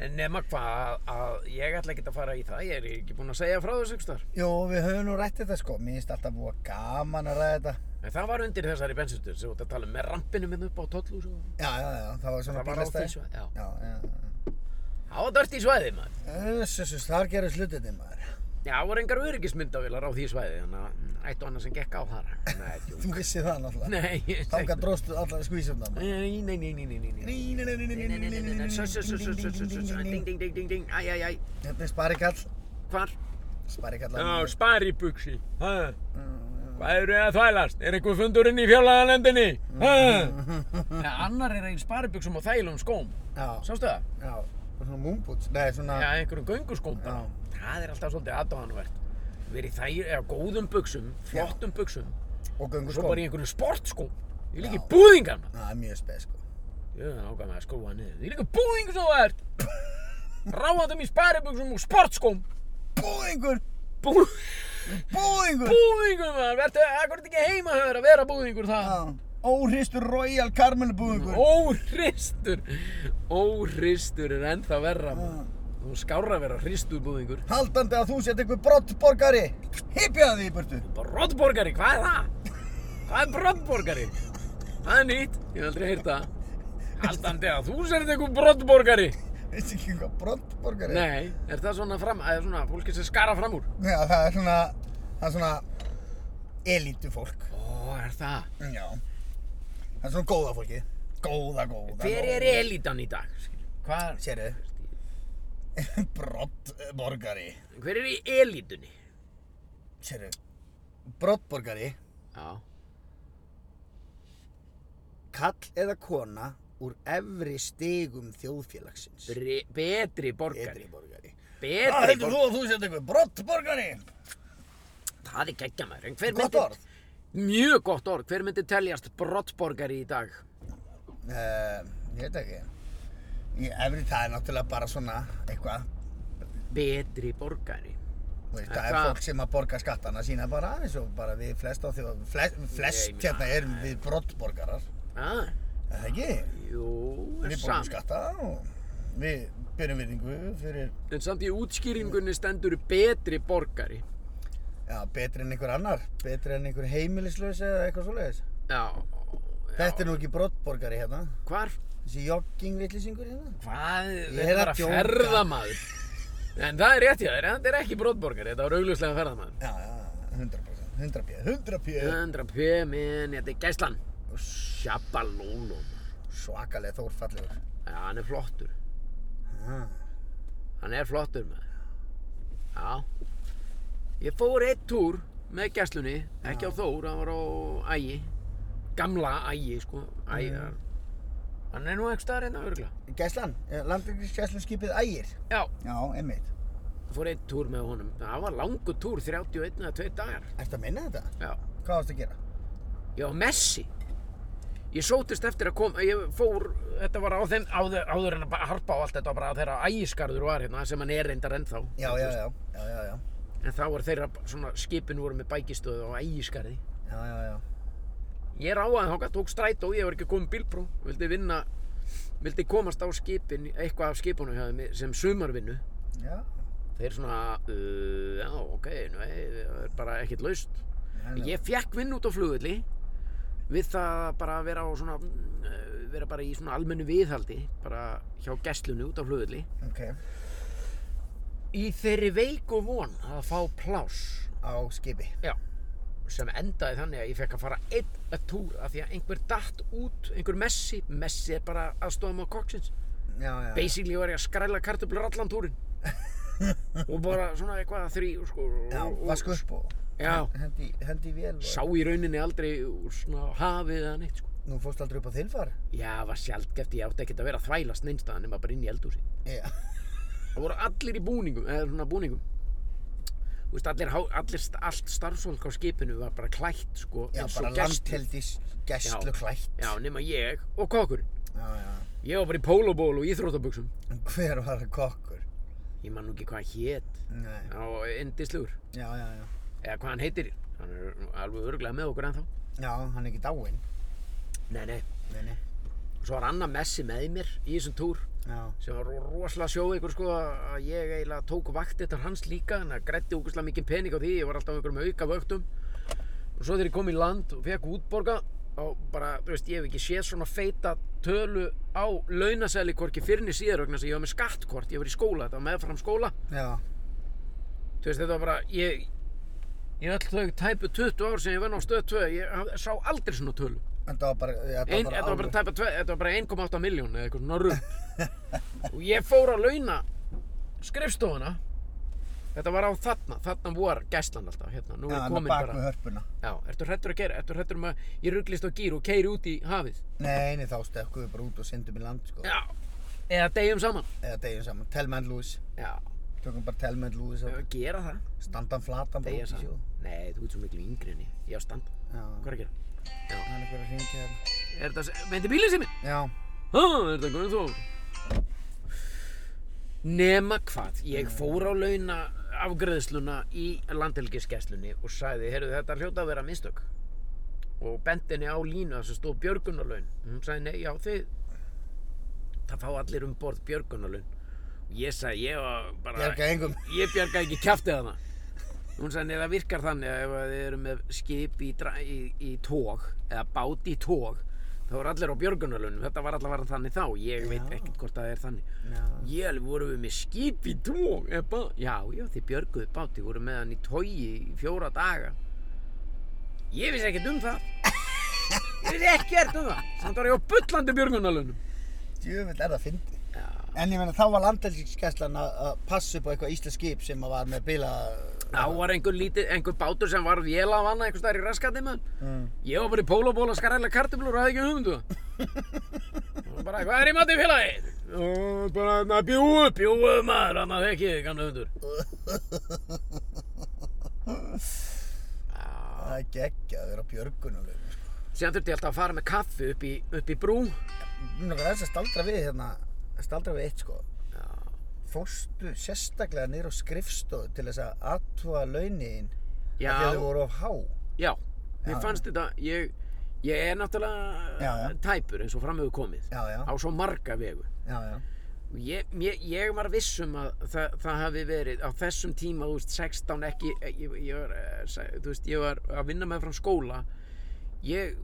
En nema hvað að ég ætla ekki að fara í það. Ég er ekki búinn að segja frá þessu ykkur starf. Jó, við höfum nú rætt þetta sko, mér finnst alltaf búið gaman að ræða þetta. En það var undir þessari bensinstöð sem þú ert að tala um með rampinu minn upp á tollu. Já, já, já, það var svona Það var á því bílastæði. svæði. Já, Já, já, já. það var dört í svæði maður. Össus, þar gerur sluttinni maður. Já, það voru engar öryggismyndavilar á því svæði. Þannig að ættu annars sem gekk á þar. Nei, djú. Þú vissi það náttúrulega. Nei, ég Þanga dróstu allar skvísumna maður. Nei, nei, nei, nei, nei, nei, nei. Svo, svo, svo, svo, svo, svo, svo, svo, ding, ding, ding, ding, ding, æ, æ, æ, Þetta Hérna er sparikall. hvar? Sparikall. Já, spari buksi. Hvað eru þið að þvælast? Er einhver fundur inn í fjárlaganendinni? Nei, annar er einn sparibuxum og þælum skóm, Já, sástu það? já. Og Svona múmbúts. Nei, Já, svona... einhverjum gönguskóm bara. Það er alltaf svolítið aðdáðanvert. Verið þær, eða góðum buxum, flottum buxum, Og og göngu svo sko. bara í einhverjum sportskóm. Ég líka í Já. búðingan, maður. Það er mjög speð sko. Ég er ákvæm að skrúa niður. Ég líka búðingan sem þú ert. Ráðandum í sparibuxum og sportskóm. Búðingur! Bú, Búðingur! búðingum, maður. Vertu, akkur er ekki heimahöður að vera búðingur það. Já. Óhristur Royal Caramel búðingur. Óhristur Óhristur er ennþá Ah. verra maður. Þú skárra að vera hristurbúðingur Haldandi að þú sett einhver brottborgari. Hypjaði því í burtu. Brottborgari, hvað er það? Hvað er brottborgari? Það er nýtt, ég hef aldrei heyrt það Haldandi að þú sért einhver brottborgari Veistu ekki hvað brottborgari? er? Nei, er það svona fram, eða svona fólki sem skara fram úr Já, það er svona... Það er svona... Elítu fólk. Ó, er það? Já. Það er svona góða fólkið. Góða, góða, Hver er góða. elitan í dag? skilur? Hvað? Sérðu? Brottborgari. Hver er í elitunni? Sérðu? Brottborgari, Já, kall eða kona úr efri stigum þjóðfélagsins. Bre betri borgari Betri borgari. Það Betri Ah, heldur borgari þú að þú sért einhver brottborgari? Það er geggja maður, en hver Gott myndi... orð. Mjög gott orð, hver myndi teljast brottborgari í dag? Uh, ég veit ekki. Í efri það er náttúrulega bara svona eitthvað. Betri borgari. Þú Veist, En það er hvað? fólk sem að borga skattana sína bara eins og bara við flest á þjóð, flest, Ég flest meina- hérna erum við brottborgarar, Ah, er það ekki? jú, en Við borgum samt. skatta og við byrjum virðingu fyrir En samt í útskýringunni stendur betri borgari. Já, betri en einhver annar, betri en einhver heimilislaus eða eitthvað svoleiðis. Já, Þetta er nú ekki brottborgari hérna, hvar? þessi joggingvillisingur hérna. Hvað? er Þetta er að bara djóka. ferðamaður. En það er rétt hjá þér, þetta er ekki brottborgari, þetta var augljóslega ferðamaður. Já, já, 100%, 100 pjö, 100 pjö. 100 pömin, þetta er gæslan. Sjabalólo. maður. Svakalega þórfallegur. Já, hann er flottur. Já, Hann er flottur maður. Já. Ég fór eitt túr með gæslunni, ekki á Þór, hann var á Ægi. Gamla Ægi, sko. Ægi, mm. hann er nú ekki staðar hérna örgla. Gæslan, landingrikskjæslu skipið eh, ægir. Já, Já, einmitt. fór einn túr með honum. Það var langur túr, 31 eða 2 dagar. Ertu að minna þetta? Já. Hvað varst að gera? Ég var Messi. Ég sótist eftir að koma, ég fór, þetta var á þeim, áður, áður en að ba- harpa á allt þetta, var bara þeirra ægiskarður var hérna, sem hann er reyndar ennþá. Já, já, já, já, já, já, En þá var þeirra, svona, skipin voru með bækistöðu á ægiskarði. já, já, já. Ég ráðaði þáka, tók strætó, ég var ekki komið bílpró, vildi vinna, vildi komast á skipin, eitthvað af skipunum hjá þeim sem sumarvinnu. Já, Þeir svona, uh, já, ok, nei, það er bara ekkert laust. nei. Ég fekk vinn út á flugulli við það bara að vera á svona, eh, vera bara í svona almennu viðhaldi, bara hjá gæstlunni út á flugulli. ok. Í þeirri veiku von að fá pláss Á skipi. Já, sem endaði þannig að ég fekk að fara einn að túr af því að einhver datt út, einhver Messi, Messi er bara aðstofum á koksins. Já, já. Basically var ég að skræla kartöflur allan túrin og bara svona eitthvað þrý, sko. og- Já, og- vasku upp og Já, hendi, hendi í vél og... sá í rauninni aldrei úr svona hafið eða neitt, sko. Nú fórst aldrei upp á þilfar? Já, var sjaldgæft, ég átti ekkert að vera að þvælast neinstaðan nema bara inn í eldhúsi. Já. Það voru allir í búningum, eða svona búningum. Þú veist, allir, há- allir, st- allt starfsfólk á skipinu var bara klætt, sko, Já, eins og bara gestir. landheldis gæstlu klætt. Já, nema ég og kokkurinn. Já, já. Ég var bara í pólóból og íþróttabuxum. En Hver var kokkur? Ég man nú ekki hvað hann hét. Nei. Já, Indislugur. Já, já, já. Eða hvað hann heitir. Hann er nú alveg örglega með okkur ennþá. Já, hann er ekki dáinn. Nei, nei. Nei, nei. Svo var Anna Messi með mér í þessum túr Já. sem var ro- rosalega sjóð ykkur sko að ég eiginlega tók vakt eftir hans líka en það grætti ógustlega mikið pening á því ég var alltaf á einhverjum auka vöktum og svo þegar ég kom í land og fekk útborga og bara, þú veist, ég hef ekki séð svona feita tölu á launasæli hvorki fyrrni síðar vegna þess að ég var með skattkort ég var í skóla, þetta var meðfram skóla Já. þú veist, þetta var bara, ég ég öll þau tæpu 20 ár sem ég vann á stöð 2 ég haf- sá aldrei svona tölu Þetta var bara... Þetta Ein, þetta var bara alveg- tæpa tve, þetta var bara 1,8 miljón eða eitthvað svona rugg og ég fór að launa skrifstofuna þetta var á þarna, þarna var gæslan alltaf hérna, nú Já, er hann komin er bak með bara hörpuna. já, ertu hrættur að gera, ertu hrættur um að ég rugglist á gýr og keiri út í hafið Nei, nei, þá stökkum við bara út og syndum í land, sko. já, eða degjum saman Eða degjum saman. Telma and Lewis. já, Tökum bara Telma and Lewis og ef að gera það, standan flatan bara degja út í sjó. saman nei, þú ert svo miklu yngri en ég, ég á stand Já. hvað er að gera, Hann er fyrir að hringja hérna. þér. er þetta, veitir bílinn sem minn Já. Há, er þetta góðið þó? Nema hvað, ég fór á launa afgreðsluna í landhelgiskesslunni og sagði, heyrðu þetta hljóta að vera mistök og benti henni á línu þar sem stóð björgunarlaun hún sagði, nei, já, þið það fá allir um borð björgunarlaun og ég sagði, ég var bara Bjargaði engum. ég bjarga ekki kjaftið hana hún sagði, nei, það virkar þannig að ef að þið eru með skip í, dra- í, í tóg eða bát í tóg þá er allir á björgunarlaunum, þetta var allavega þannig þá ég veit ekki hvort það er þannig Já. Ég alveg voru við með skip í tóg eða bát. Já, já, þið björguðu báti, voru með hann í tógi í fjóra daga. Ég vissi ekkert um það. Ég vissi ekkert um það. Samt var ég á bullandi björgunarlunum. Djöfull er það fyndið. Já, En ég meina þá var landhelgiskeslan að að passa upp á eitthvað íslensk skip sem að var með bila... þá var einhver, lítið, einhver bátur sem var vél af hana einhver staðar í raskati maður. Mm. Ég var bara í pólóból að skaræla kartöflur og hafði ekki hugmyndu það. Og bara, hvað er í matið félagi? Og bara, na, bjúu, bjúu maður, annað ekki, gamla hundur. Já. Það er geggja að vera á björgunulegu. sko. Síðan þurfti ég alltaf að fara með kaffi upp í, upp í brú. Mér langar aðeins að staldra við hérna, staldra við eitt sko. Fórstu sérstaklega niður á skrifstofu til þess að atva launiðin Já, að þau voru of há. já. Mér fannst þetta, ég, ég er náttúrulega Já, já. tæpur eins og fram hefur komið. Já, já, Á svo marga vegu. já, já, Og Ég, ég, ég var viss um að það, það hafi verið á þessum tíma, þú veist, 16 ekki, ég, ég var, eh, sa- þú veist, ég var að vinna með fram skóla. Ég,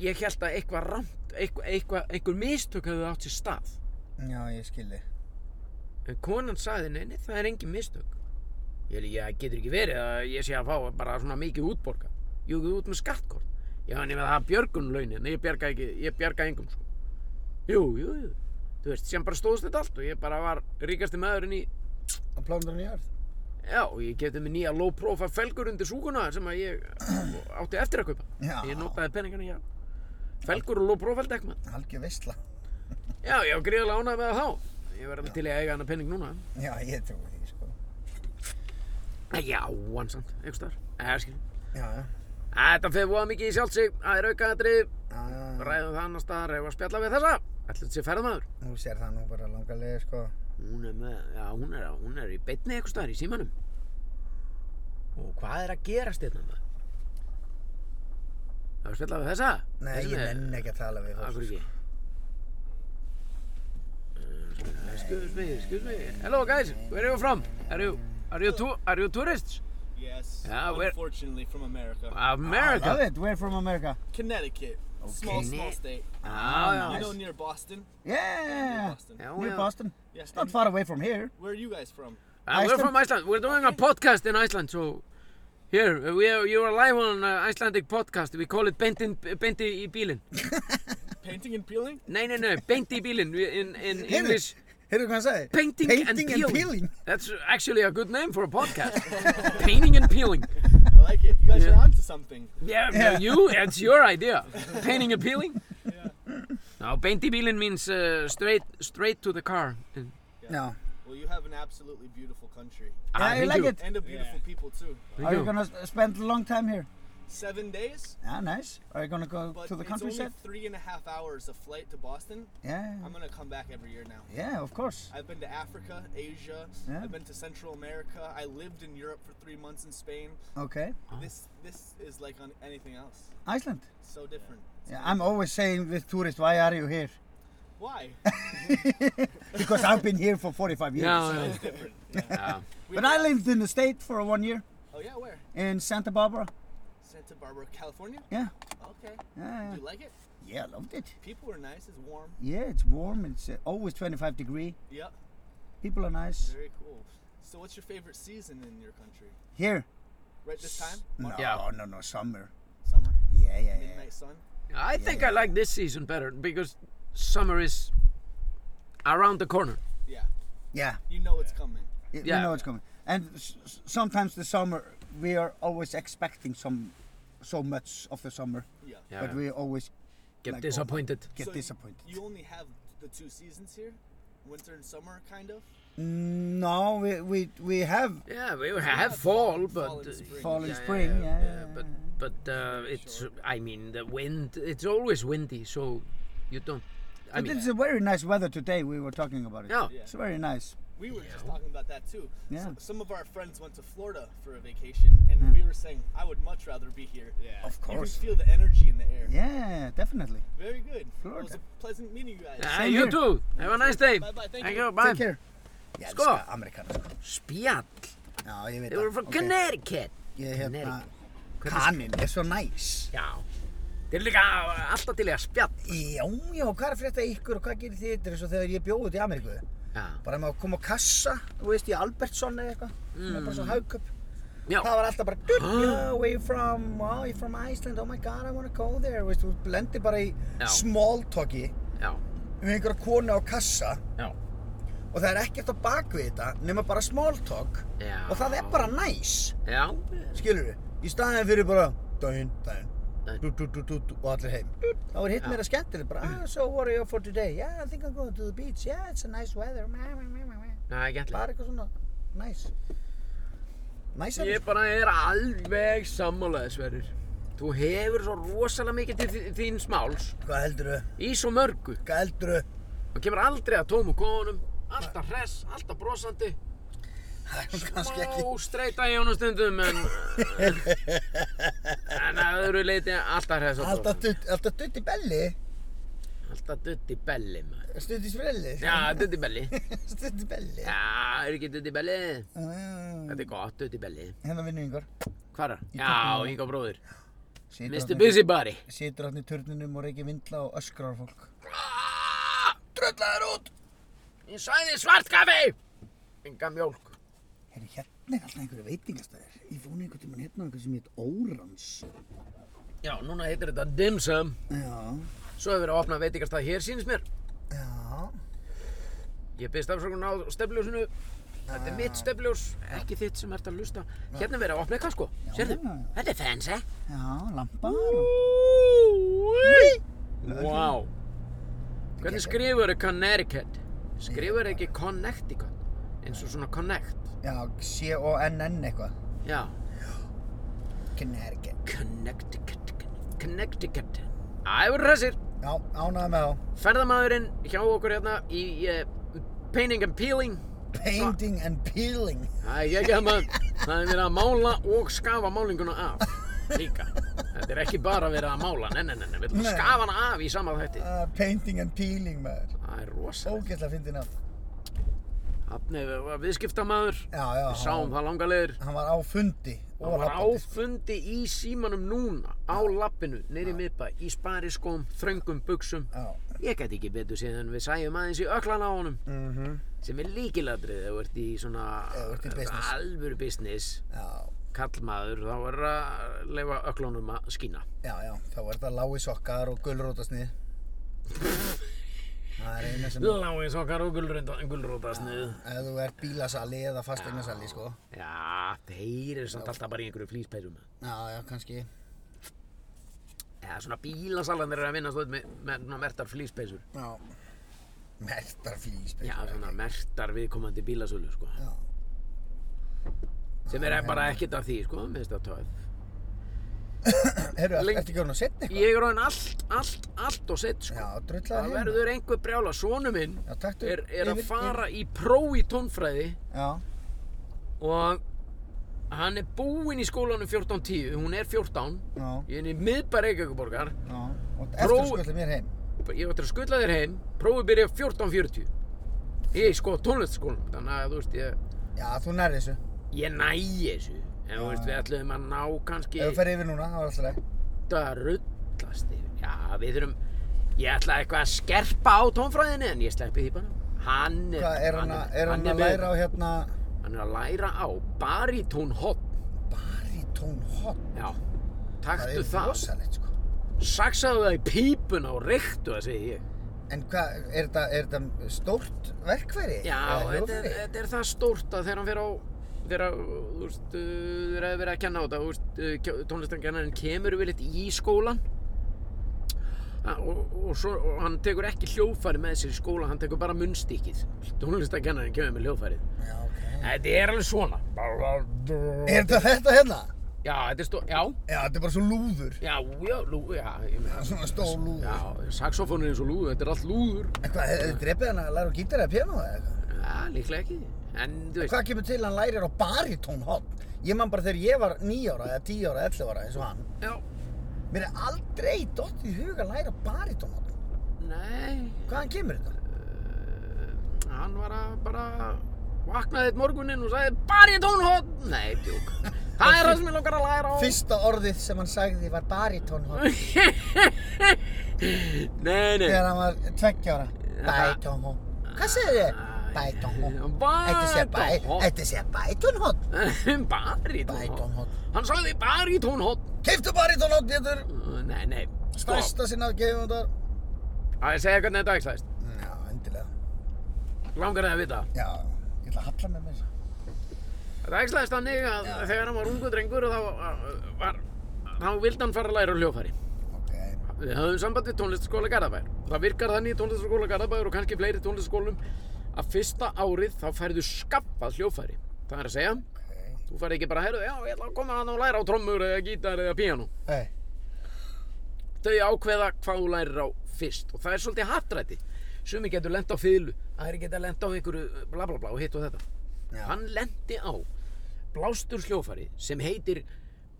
ég held að eitthvað ramt, eitthvað, eitthvað, einhver mistök hefði átt sér stað. já, ég skilji. En Eh, konan sagði, nei, nei, það er engin mistök. Ég held, ég getur ekki verið að ég sé að fá bara svona mikið útborga. Jú, þú ert með skattkort. Já, en ég með það björgunlaunin, ég bjarga ekki, ég bjarga engum, sko. Jú, jú, jú. Þú veist, sem bara stóðst þetta allt og ég bara var ríkasti maðurinn í, Og plánurinn í jörð. já, og ég getið mér nýja low profile felgur undir súkuna sem að ég eh, átti eftir að kaupa. Já. Ég notaði peningana, já. Felgur og low profile dekma. Algjör veistla. Já, ég var gríðarlega ánægð með það þá. Ég verði alveg til í að eiga hana pening núna. Já, ég trúi því sko. Já, ansamt, einhvers staðar. Eh, skilur. Já, já. Eh, Þetta fer voða mikið í sjálfsig, það er aukaðatrið, Já, já, já. ræðum það annar staðar, hefur að spjalla við þessa. Ætli þetta sé ferðamaður. Þú sér það nú bara langa leið, sko. Hún er með, já, hún er, hún er í beinni einhvers staðar í símanum. Og hvað er að gerast hérna maður? Það er að spjalla við þessa? Nei, Þessa ég með- nenni ekki að tala við Af fólk. hverju sko. ekki? Uh, Excuse me, excuse me. Hello guys, where are you from? Are you, are you, tu- are you tourists? Yes. Yeah, we're- unfortunately, from America, America. Love it, we're from America. Connecticut, small small state. Ah, já. You know, near Boston. Near Oh, Yeah, Boston. Já, we're já. Boston. Yes. It's not far away from here. Where are you guys Uh, from? we're Iceland? from Iceland. We're doing a podcast in Iceland, so here uh, we are. You are live on uh, Icelandic podcast. We call it Bentin Benti Bílin. Painting and peeling? Nei, nei, nei, Benti Bílin in in Heyrðu, English. Heyrðu hvað hann sagði? Painting, Painting and peeling. That's actually a good name for a podcast. Painting and peeling. I like it. You guys Yeah. are onto something. Yeah, no, you, it's your idea. Painting and peeling? No, Benti Bílin means uh, straight straight to the car. No. Well, you have an absolutely beautiful country Ah, you thank like it? and a beautiful people too. Are you you. gonna s- spend a long time here? Seven days, Ah, nice. Are you gonna go but to the it's only countryside? three and a half hours of flight to Boston. Yeah. I'm gonna come back every year now. Yeah, of course. I've been to Africa, Asia. Yeah. I've been to Central America. I lived in Europe for three months in Spain. Okay. This this is like on anything else. Iceland. So different. Yeah, I'm always saying with tourists, why are you here? Why? Because I've been here for 45 years. No, no. It's different. Yeah. Ah, We- But I lived in the state for one year Oh yeah, where? in Santa Barbara. Santa Barbara, California. Yeah. Okay. Yeah, Do you like it? yeah, I loved it. People are nice. It's warm. Yeah, it's warm. It's uh, always 25 degree. Yep. People are nice. Very cool. So, what's your favorite season in your country? Here. Right this time? No, Yeah. no, no, summer. Summer. Yeah, yeah, yeah. Midnight sun. I think I like this season better because summer is around the corner. Yeah. Yeah, You know it's coming. y- Yeah. you know it's coming. And s- s- sometimes the summer, we are always expecting some, so much of the summer, Yeah. Yeah. but we always Get like, disappointed. get So you- disappointed. You only have the two seasons here, winter and summer, kind of. No, we we we have Yeah, we have fall, but uh, fall and spring. fall and spring. Yeah, but but uh, it's I mean the wind. It's always windy, so you don't. but I mean, it's a very nice weather today. We were talking about it. Yeah. Yeah. it's very nice. We were just talking about that too. Yeah. Hmm. So- some of our friends went to Florida for a vacation, and we were saying, I would much rather be here. Yeah. Of You can course. feel the energy in the air. Yeah, definitely. Very good. It was Florida. a pleasant meeting you guys. Ah, same you here. too. Have a nice day. Bye-bye, thank you. you. Bye. Take care. Yeah, Sko. þetta er amerikanar. sko. Spjall. Já, ég veit They were það. from ok. Connecticut. Ég hérna, Connecticut. kaninn er svo næs. Já. Þeir eru líka alltaf til í að spjall. Já, já, hvað er að frétta af ykkur og hvað gerir þið þetta eins og þegar ég bjóð út í Ameríku? Já. Bara með að koma á kassa, þú veist, í Albertson eða eitthvað. Mm. Ah. Bara svo haugköp. Já. Það var alltaf bara, dude, yeah, where you from? Oh, you're from Iceland, oh my god, I wanna go there. Veist, þú blendir bara í Já. small talki Já. um einhverja konu á kassa Já. og það er ekkert á bakvið þetta nema bara small talk Já. og það er bara næs, Já. skilur við? Í staðin fyrir bara, daginn, daginn, Daginn. dú, dú, dú, dú, dú, og allir heim. Þá er hitt meira skemmtileg, bara, ah, so what are you up for today? Yeah, I think I'm going to the beach. Yeah, it's a nice weather. Meh, meh, meh, meh, meh. Næ, ekki allir. Bara eitthvað svona, næs. Næs er Ég bara er alveg sammálaðið, Sverrir. Þú hefur svo rosalega mikið til þí- þíns máls Hvað heldurðu? í svo mörgu. Hvað heldurðu? Það kemur aldrei að tómu konum, alltaf hress, alltaf brosandi, Það er nú kannski ekki. smá streyta í honum stundum, en, en að öðru leiti alltaf hress og Alltaf brosandi. dutt, alltaf dutt í belli, Alltaf dutt í belli, maður. stutt í sprelli, Já, dutt í belli. stutt í belli. Já, er ekki dutt í belli? Mm, Þetta er gott, dutt í belli. Hérna vinnu yngur. Hvar er? Já, Inga bróðir. Situr Mr. þarna í- Busybody. Situr hann í turninum og reykir vindla og öskrar á fólk. Dröllaður Ah, út! Ég sæði svart kaffi! Inga mjólk. Herri, hérna er alltaf einhverju veitingastæðir. Ég fór nú einhvern tímann hérna á einhvern sem heit Órans. Já, núna heitir þetta Dim Sum. Já, Svo hefur verið að opna veitingastað hér, sýnist mér. já. Ég byrst afsökun á stefljósinu Þetta er mitt stefljós, ekki þitt sem ert að lusta Hérna er verið að opna eitthvað sko Sérðu, já, já. þetta er fancy Já, lampar og... Wow Hvernig skrifur þau Connecticut? Skrifur þau ekki Connecticut? eins og svona connect Já, C-O-N-N eitthvað. já, Connecticut. Connecticut Connecticut Æfur hressir, Já, ánægði með þá. ferðamaðurinn hjá okkur hérna í uh, Painting and Peeling Painting and peeling. Það er ekki að maður, það er verið að mála og skafa málinguna af líka Þetta er ekki bara verið að mála, nei, nei, nei, nei, við ætlum Nei. að skafa hana af í sama þætti Uh, painting and peeling, maður. Það er rosalegt Ógæslega fyndið nafn. Þannig við var viðskiptamaður, Já, já. við sáum það langalegir Hann var á fundi. og Hann var á labbandi. fundi í símanum núna, á lappinu, niður í miðbæ, í spariskóm, þröngum buksum Já. Ég gæti ekki betur séð en við sæjum aðeins í öklan á honum Mhm. sem er líkilatrið ef þú ert í svona Ef þú ert í business. alvöru business Já, kallmaður þá er að leifa öklunum að skína já, já. Þá er þetta lági sokkar og gulrótasnið. Það er eina sem... Láins okkar og gulrótasnið Ef þú ert bílasali eða fastegnasali, sko. Já, þeir eru samt alltaf bara í einhverju flýspeysum Já, já, kannski. eða svona bílasalandir eru að vinna stóð með, með svona mertar flýspeysur Já. Mertar flýspegur. Já, svona mertar viðkomandi bílasölu sko. Já. sem er bara ekkert af því, sko, minnst að töð Herru, Lengi- ertu ekki orðin að setja eitthvað? Ég er orðin allt, allt, allt og sett sko. Já, drullar Það verður einhver brjála, sonu minn Já, taktu. er, er að Yfir- fara í próf í tónfræði Já, og hann er búinn í skólanum 14.10, hún er 14, já, ég er inn í miðbær Reykjavíkuborgar, já. Og eftir Próf- að skölda mér heim. ég ætla að skutla þér heim, prófið byrja 14.40. Ég er sko tónlistaskólanum, þannig að þú veist, ég, Já, þú nærði þessu. ég næ þessu, en þú veist, við ætlum að ná kannski Ef þú fer yfir núna, það var alltaf leið. að rullast yfir, já, við þurfum, ég ætla eitthvað að skerpa á tónfræðinni, en ég sleppi því bara. Hann er, Hvað, er hann að, er hann að með- læra á hérna hann er að læra á barítónhotn baritón hot? Já, Það taktu er það, rosalegt, sko. saksaðu það í pípuna og reyktu það, segi ég. En hvað, er þetta, er þetta stórt verkfæri? Já, Eða þetta er, hljóðfæri? þetta er það stórt að þegar hann fer á, þegar, að, þú veist, uh, þegar að vera að kenna á þetta, þú veist, uh, tónlistankennarinn kemur við litt í skólan Ha, og, og, svo, og hann tekur ekki hljófæri með sér í skóla, hann tekur bara munnstíkið. Tónlistankennarinn kemur með hljófærið. Já, ok. Þetta er alveg svona. Er þetta þetta hérna? Já, þetta er stó, já, Já, þetta er bara svo lúður. já, já, lú, já, ég meina. Svona stór lúður. Já, saxofónur eins og lúður, þetta er allt lúður. En hvað, hefur þið drefið hann að læra á gítar eða piano eða eitthvað? Já, líklega ekki. En þú veist, Hvað kemur til að hann lærir á baritón hot? Ég man bara þegar ég var 9 ára eða 10 ára, 11 ára eins og hann. já, Mér er aldrei dott í huga að læra baritón hot. nei, uh, Hvaðan kemur þetta? hann var að bara vaknaði eitt morguninn og sagði bara í tónhótt. Nei, djúk. Það er það sem ég langar að læra á. Fyrsta orðið sem hann sagði var baritón hot. Nei, nei. Þegar hann var tveggja ára. Bætónhó. Hvað segir þið? Bætónhó. Þetta sé bæ, Bætónhó. þetta sé bætónhó. bara í Barítónhóll. tónhótt. Hann sagði bara í tónhótt. Keiftu barítónhó, Pétur. Nei, nei. Stærsta sinna gefundar. Það er að segja hvernig þetta ætlaðist. Já, endilega. Langar það að vita. Já, ég ætla að halla með mér. Þetta ætlaðist þannig að þegar hann var ungu drengur þá uh, var, þá vildi hann fara að læra á hljófari. Ok. Við höfum samband við tónlistaskóla Garðabæjar. Það virkar þannig í tónlistaskóla Garðabæjar og kannski fleiri tónlistaskólum að fyrsta árið þá færðu skaffað hljófæri. Það er að segja, Ok. þú færði ekki bara, heyrðu, já, ég ætla að koma hann og læra á trommur eða gítar eða píanó. Hey. Þau ákveða hvað þú lærir á fyrst og það er svolítið hattrætti. Sumi getur lent á fylgu, aðri getur lent á einhverju bla bla bla og hitt og þetta. Já. Hann lenti á blástur hljófæri sem heitir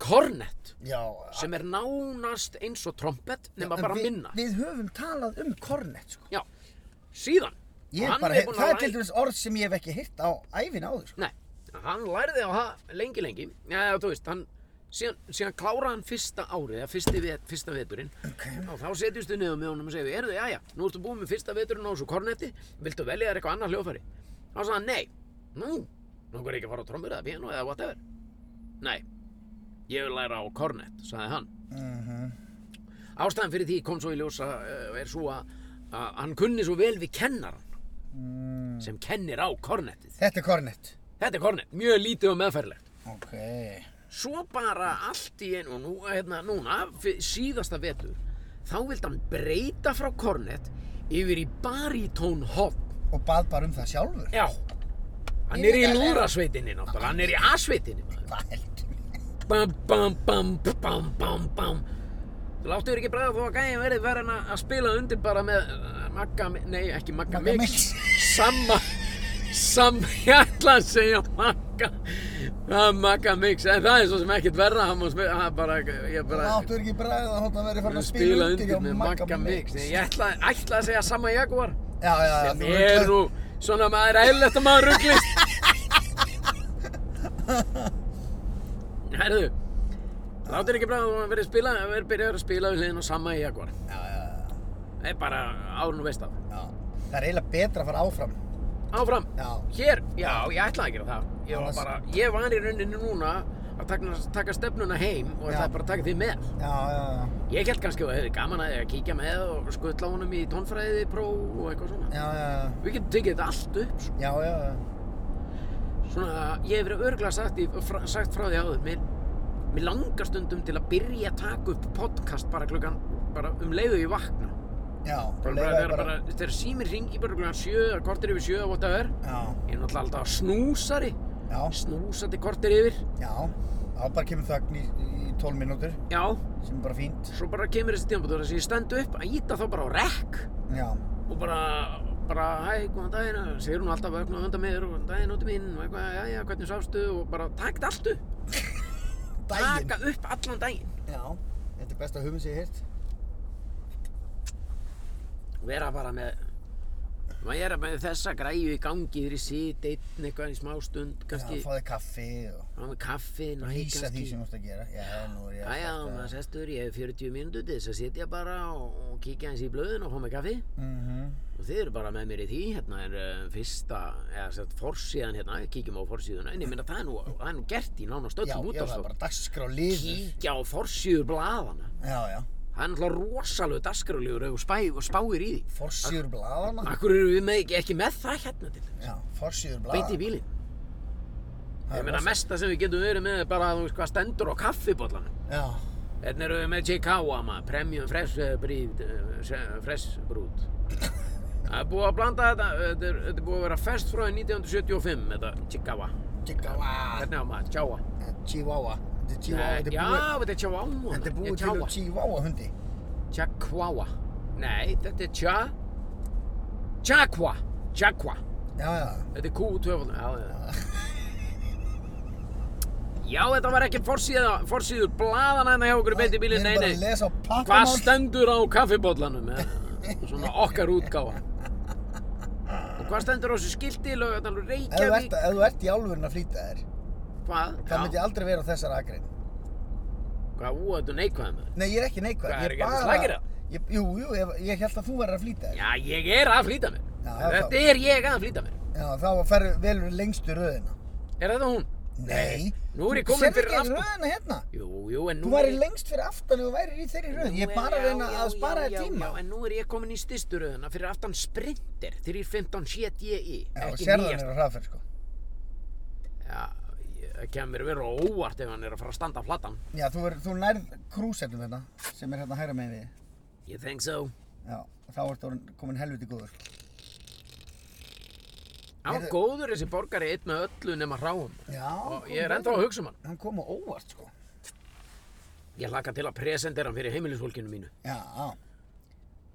kornett Já. sem er nánast eins og trompet nema en bara við, minna. Við höfum talað um kornett, sko. Já, síðan Ég Hann hef bara, er hef, búinn að það er læ- til dæmis orð sem ég hef ekki hýrt á æfin áður, sko. Nei, hann lærði á það lengi lengi Já, þú veist, hann síðan, síðan kláraði hann fyrsta árið eða fyrsti vet, fyrsta veturinn okay. og þá setjumstu niður með honum og segir Erðu, jæja, nú ertu búinn með fyrsta veturinn á þessu kornetti Viltu velja þér eitthvað annað hljófæri? Þá sagði hann, nei, nú Nú er ekki að fara á trommur eða piano eða whatever Nei, ég vil læra á kornett, sagði hann Ástæðan fyrir því kom svo í ljósa uh, er svo að, að hann kunni svo vel við kennaran sem kennir á kornettið Þetta er kornett. Þetta er kornett, mjög lítið og meðferðlegt. Ok. Svo bara allt í einu og nú, hérna, núna, fyr- síðasta vetur, þá vildi hann breyta frá kornett yfir í barítónhopp. Og bað bara um það sjálfur. Já, Hann er í lúrasveitinni náttúrulega, hann er í asveitinni maður. Hvað heldur? Bam, bam, bam, bam, bam, bam. Þú láttu þér ekki bræða þó að gæðin verið verið að spila undir bara með uh, Magga, Mi- nei ekki Magga Magga Mix. Mix. Samma, samma, ég ætla að segja Magga, það er Magga Mix. En það er svo sem ekkert verra, hann má spila, hann bara, ég Það bara, áttu ekki bræðið að hóta að vera farin að spila undir með Magga Mix. Nei, Ég ætla, ætla að segja Samma Jaguar, Já, já, já, sem þú er ruglar- nú svona maður eðlilegt að maður rugglist. Herðu, Láttir ekki bræða að þú verið spila, verið byrjaður að spila við hliðin á sama í Jaguar. Já, já, já, Það er bara árun og veist af. já. Það er eiginlega betra að fara áfram. Áfram. Já. Hér, já, ég ætlaði að gera það. Ég var Annars- bara, ég var í rauninni núna að taka, taka stefnuna heim og Já. það er bara að taka því með. Já, já, já. Ég held kannski að það hefði gaman að ég að kíkja með og skuttla honum í tónfræði, pró og eitthvað svona. Já, já, já. Við getum tekið þetta allt upp, sko. Já, já, já. svona, ég hef verið örgulega sagt, í- fra- sagt frá því áður, mér, mér langar stundum til að byrja að taka upp podcast bara klukkan, bara um leiðu ég vakna. Já, Bara, leyfa bara, þér þegar, bara, þegar símir ringi bara klukkan sjö, eða kortir yfir sjö, eða whatever. Já, Ég er náttúrulega alltaf snúsari, já, snúsandi kortir yfir, já. Þá bara kemur þögn í, í 12 mínútur já. sem er bara fínt. Svo bara kemur þessi tímabútur þess að ég stend upp að íta þá bara á rekk Já, og bara, bara, hæ, góðan daginn, segir hún alltaf vöknuð undan mér og góðan daginn út í mín og eitthvað, já, já, hvernig sástu og bara taka þetta allt upp, daginn. taka upp allan daginn. Já, þetta er besta hugmynd sem ég heilt. vera bara með maður er með þessa græju í gangi þegar ég sit einn eitthvað í smá stund Já, kannski, fá þig kaffi og fá með kaffi næ, lýsa því kannski sem þú ert að gera. Já, nú er ég að Æja, maður sestur, ég hef 40 mínútur til þess að sitja bara og, og kíkja eins í blöðun og fá með kaffi Mhm. og þið eru bara með mér í því, hérna er uh, fyrsta, eða sett forsíðan hérna, kíkjum á forsíðuna, en ég meina það er nú, það er nú gert í nánast Já, öllum já, það er útastofn bara dagskrá liður. kíkja á forsíður blaðana Já, já. það er náttúrulega rosalega dasgrálegur ef þú spæ- og spáir í því Forsýður blaðana. Akkur eru við með, ekki, ekki með það hérna til Já, forsýður beint í blaðana. bílinn. Það Ég er meina rosa- mesta sem við getum verið með er bara að þú veist hvað stendur á kaffibóllanum. Já, Hérna erum við með Chicago maður, Premium Fresh eh, Breed, eh, se- Fresh Brút. Það er búið að blanda þetta, þetta er, þetta er búið að vera fest frá því 1975, þetta Chicago. Chihuahua. Hvernig á maður? Chihuahua. Chihuahua. Þetta er Chihuahua. Nei, Þetta Já, er búið. þetta er Chihuahua. Þetta er Ég, búið til Chihuahua. úr Chihuahua hundi. Chihuahua. Nei, þetta er Cha... Chakwa. Chakwa. Já, já. Þetta er Q2 Já, já Já, þetta var ekki forsíða, forsíður blaðana hérna hjá okkur í beint í bílinn, nei, Við erum bara að nei lesa á Hvað pappanál. stendur á kaffibóllanum, eh, svona okkar útgáfa Og hvað stendur á þessu skilti, Ef lögðan þú Reykjavík ert, ef þú ert í álfurinn að flýta þér, Hvað, þá myndi já, ég aldrei vera á þessar akrein. hvað, ú, þetta er neikvæðum Nei, ég er ekki neikvæð. Hvað, ég er ekki allir bara- slakir það? Ég, jú, jú, ég, ég held að þú verður að flýta þér. Já, ég er að flýta mér Já, Þetta þá- er ég að flýta mér Já, þá fer, velur lengstu röðina. Er þetta hún? Nei. Nú er ég kominn fyrir aftan. Þú serðu ekki aftan. röðina hérna. Jú, jú, en nú Þú væri lengst fyrir aftan ef þú værir í þeirri röð. Ég er bara að reyna að spara þér tíma. Já, en nú er ég komin í styrsturöðuna fyrir aftan sprinter 315 7JI Já, E. ekki sérðu hann nýjasta. er á hraðferð, sko. Já, ég- það kemur vera óvart ef hann er að fara að standa á platan Já, þú, er, þú nærð krúsettum hérna, sem er hérna hægra megin við. þig. Ég think so Já, og þá ertu orðinn- kominn helviti góður. Á Heyrðu- góður þessi borgari einn með öllu nema hráum Já, og ég er ennþá að hugsa um hann hann kom á óvart, sko. Ég hlakka til að presentera hann fyrir heimilisfólkinu mínu Já, á.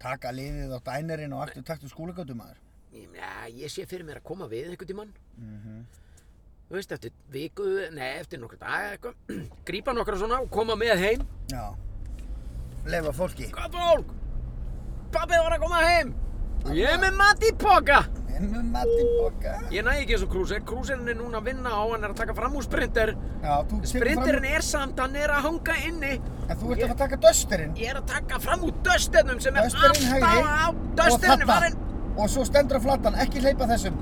Taka liðið á dænerinn og aftur taktu skólagötu maður. Ég- Já, ég sé fyrir mér að koma við einhvern tímann Mhm. Þú veist, eftir viku, nei, eftir nokkur dag eitthvað, grípa nokkra svona og koma með heim Já. Leifa fólki. Hvað fólk? Pappið var að koma heim og ég er með mat í poka En með matinn boka. Ég næ ekki þessu krúser, krúserinn er núna að vinna á, hann er að taka fram úr sprinter Já, þú tekur fram... Sprinterinn er samt, hann er að hanga inni En þú ert að fara að taka dösterinn. Ég er að taka fram úr dösternum sem er Dösterinn hægri. alltaf á og Dösterinn þarna. er farinn Og svo stendur á flatan, ekki hleypa þessum.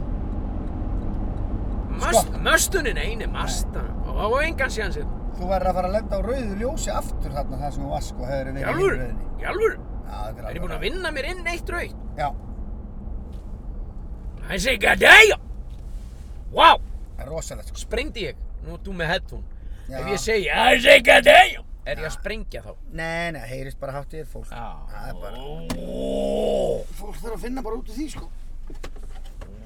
Mast, Stopp. Möstunin, eini mastan Og engan séðan Þú verður að fara að lenda á rauðu ljósi aftur þarna þar sem þú varst sko, hefur verið Jálfur, í rauðinni. jálfur Já, þetta er Er ég búinn að vinna mér inn eitt raukt? vinna? Já, Það er sig að degja Vá, það er rosalegt sko. sprengdi ég Nú ert þú með headphone Já. Ef ég segi, það er sig að degja Er ég að sprengja þá? Nei, nei, heyrist bara hátt í þér fólk. Já. Það er bara... Fólk þarf að finna bara út úr því sko.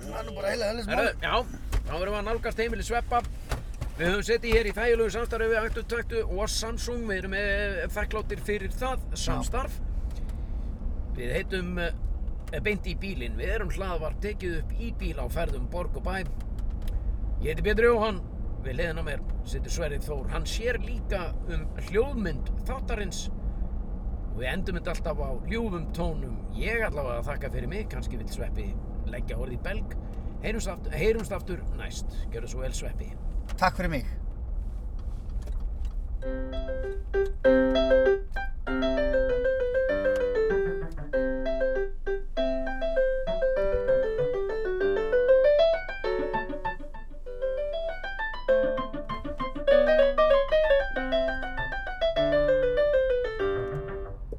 Það er nú bara heila, heila sem Herðu, já Þá erum við að nálgast heimili sveppa. Við höfum setið hér í þægilegu samstarfi við Aktu Taktu og Samsung. Við erum eh, þakkláttir fyrir það samstarf. Við heitum eh, beint í bílinn. Við erum hlaðvarp tekið upp í bíl á ferðum Borg og Bæ. Ég heiti Pétur Jóhann. Við leiðin á mér situr Sverrið Þór. Hann sér líka um hljóðmynd þáttarins. Og við endum þetta alltaf á ljúfum tónum. Ég allavega þakka fyrir mig, kannski vill Sveppi leggja orðið í belg. Heyrumst aftur, heyrumst aftur næst. Gjörðu svo vel Sveppi. Takk fyrir mig.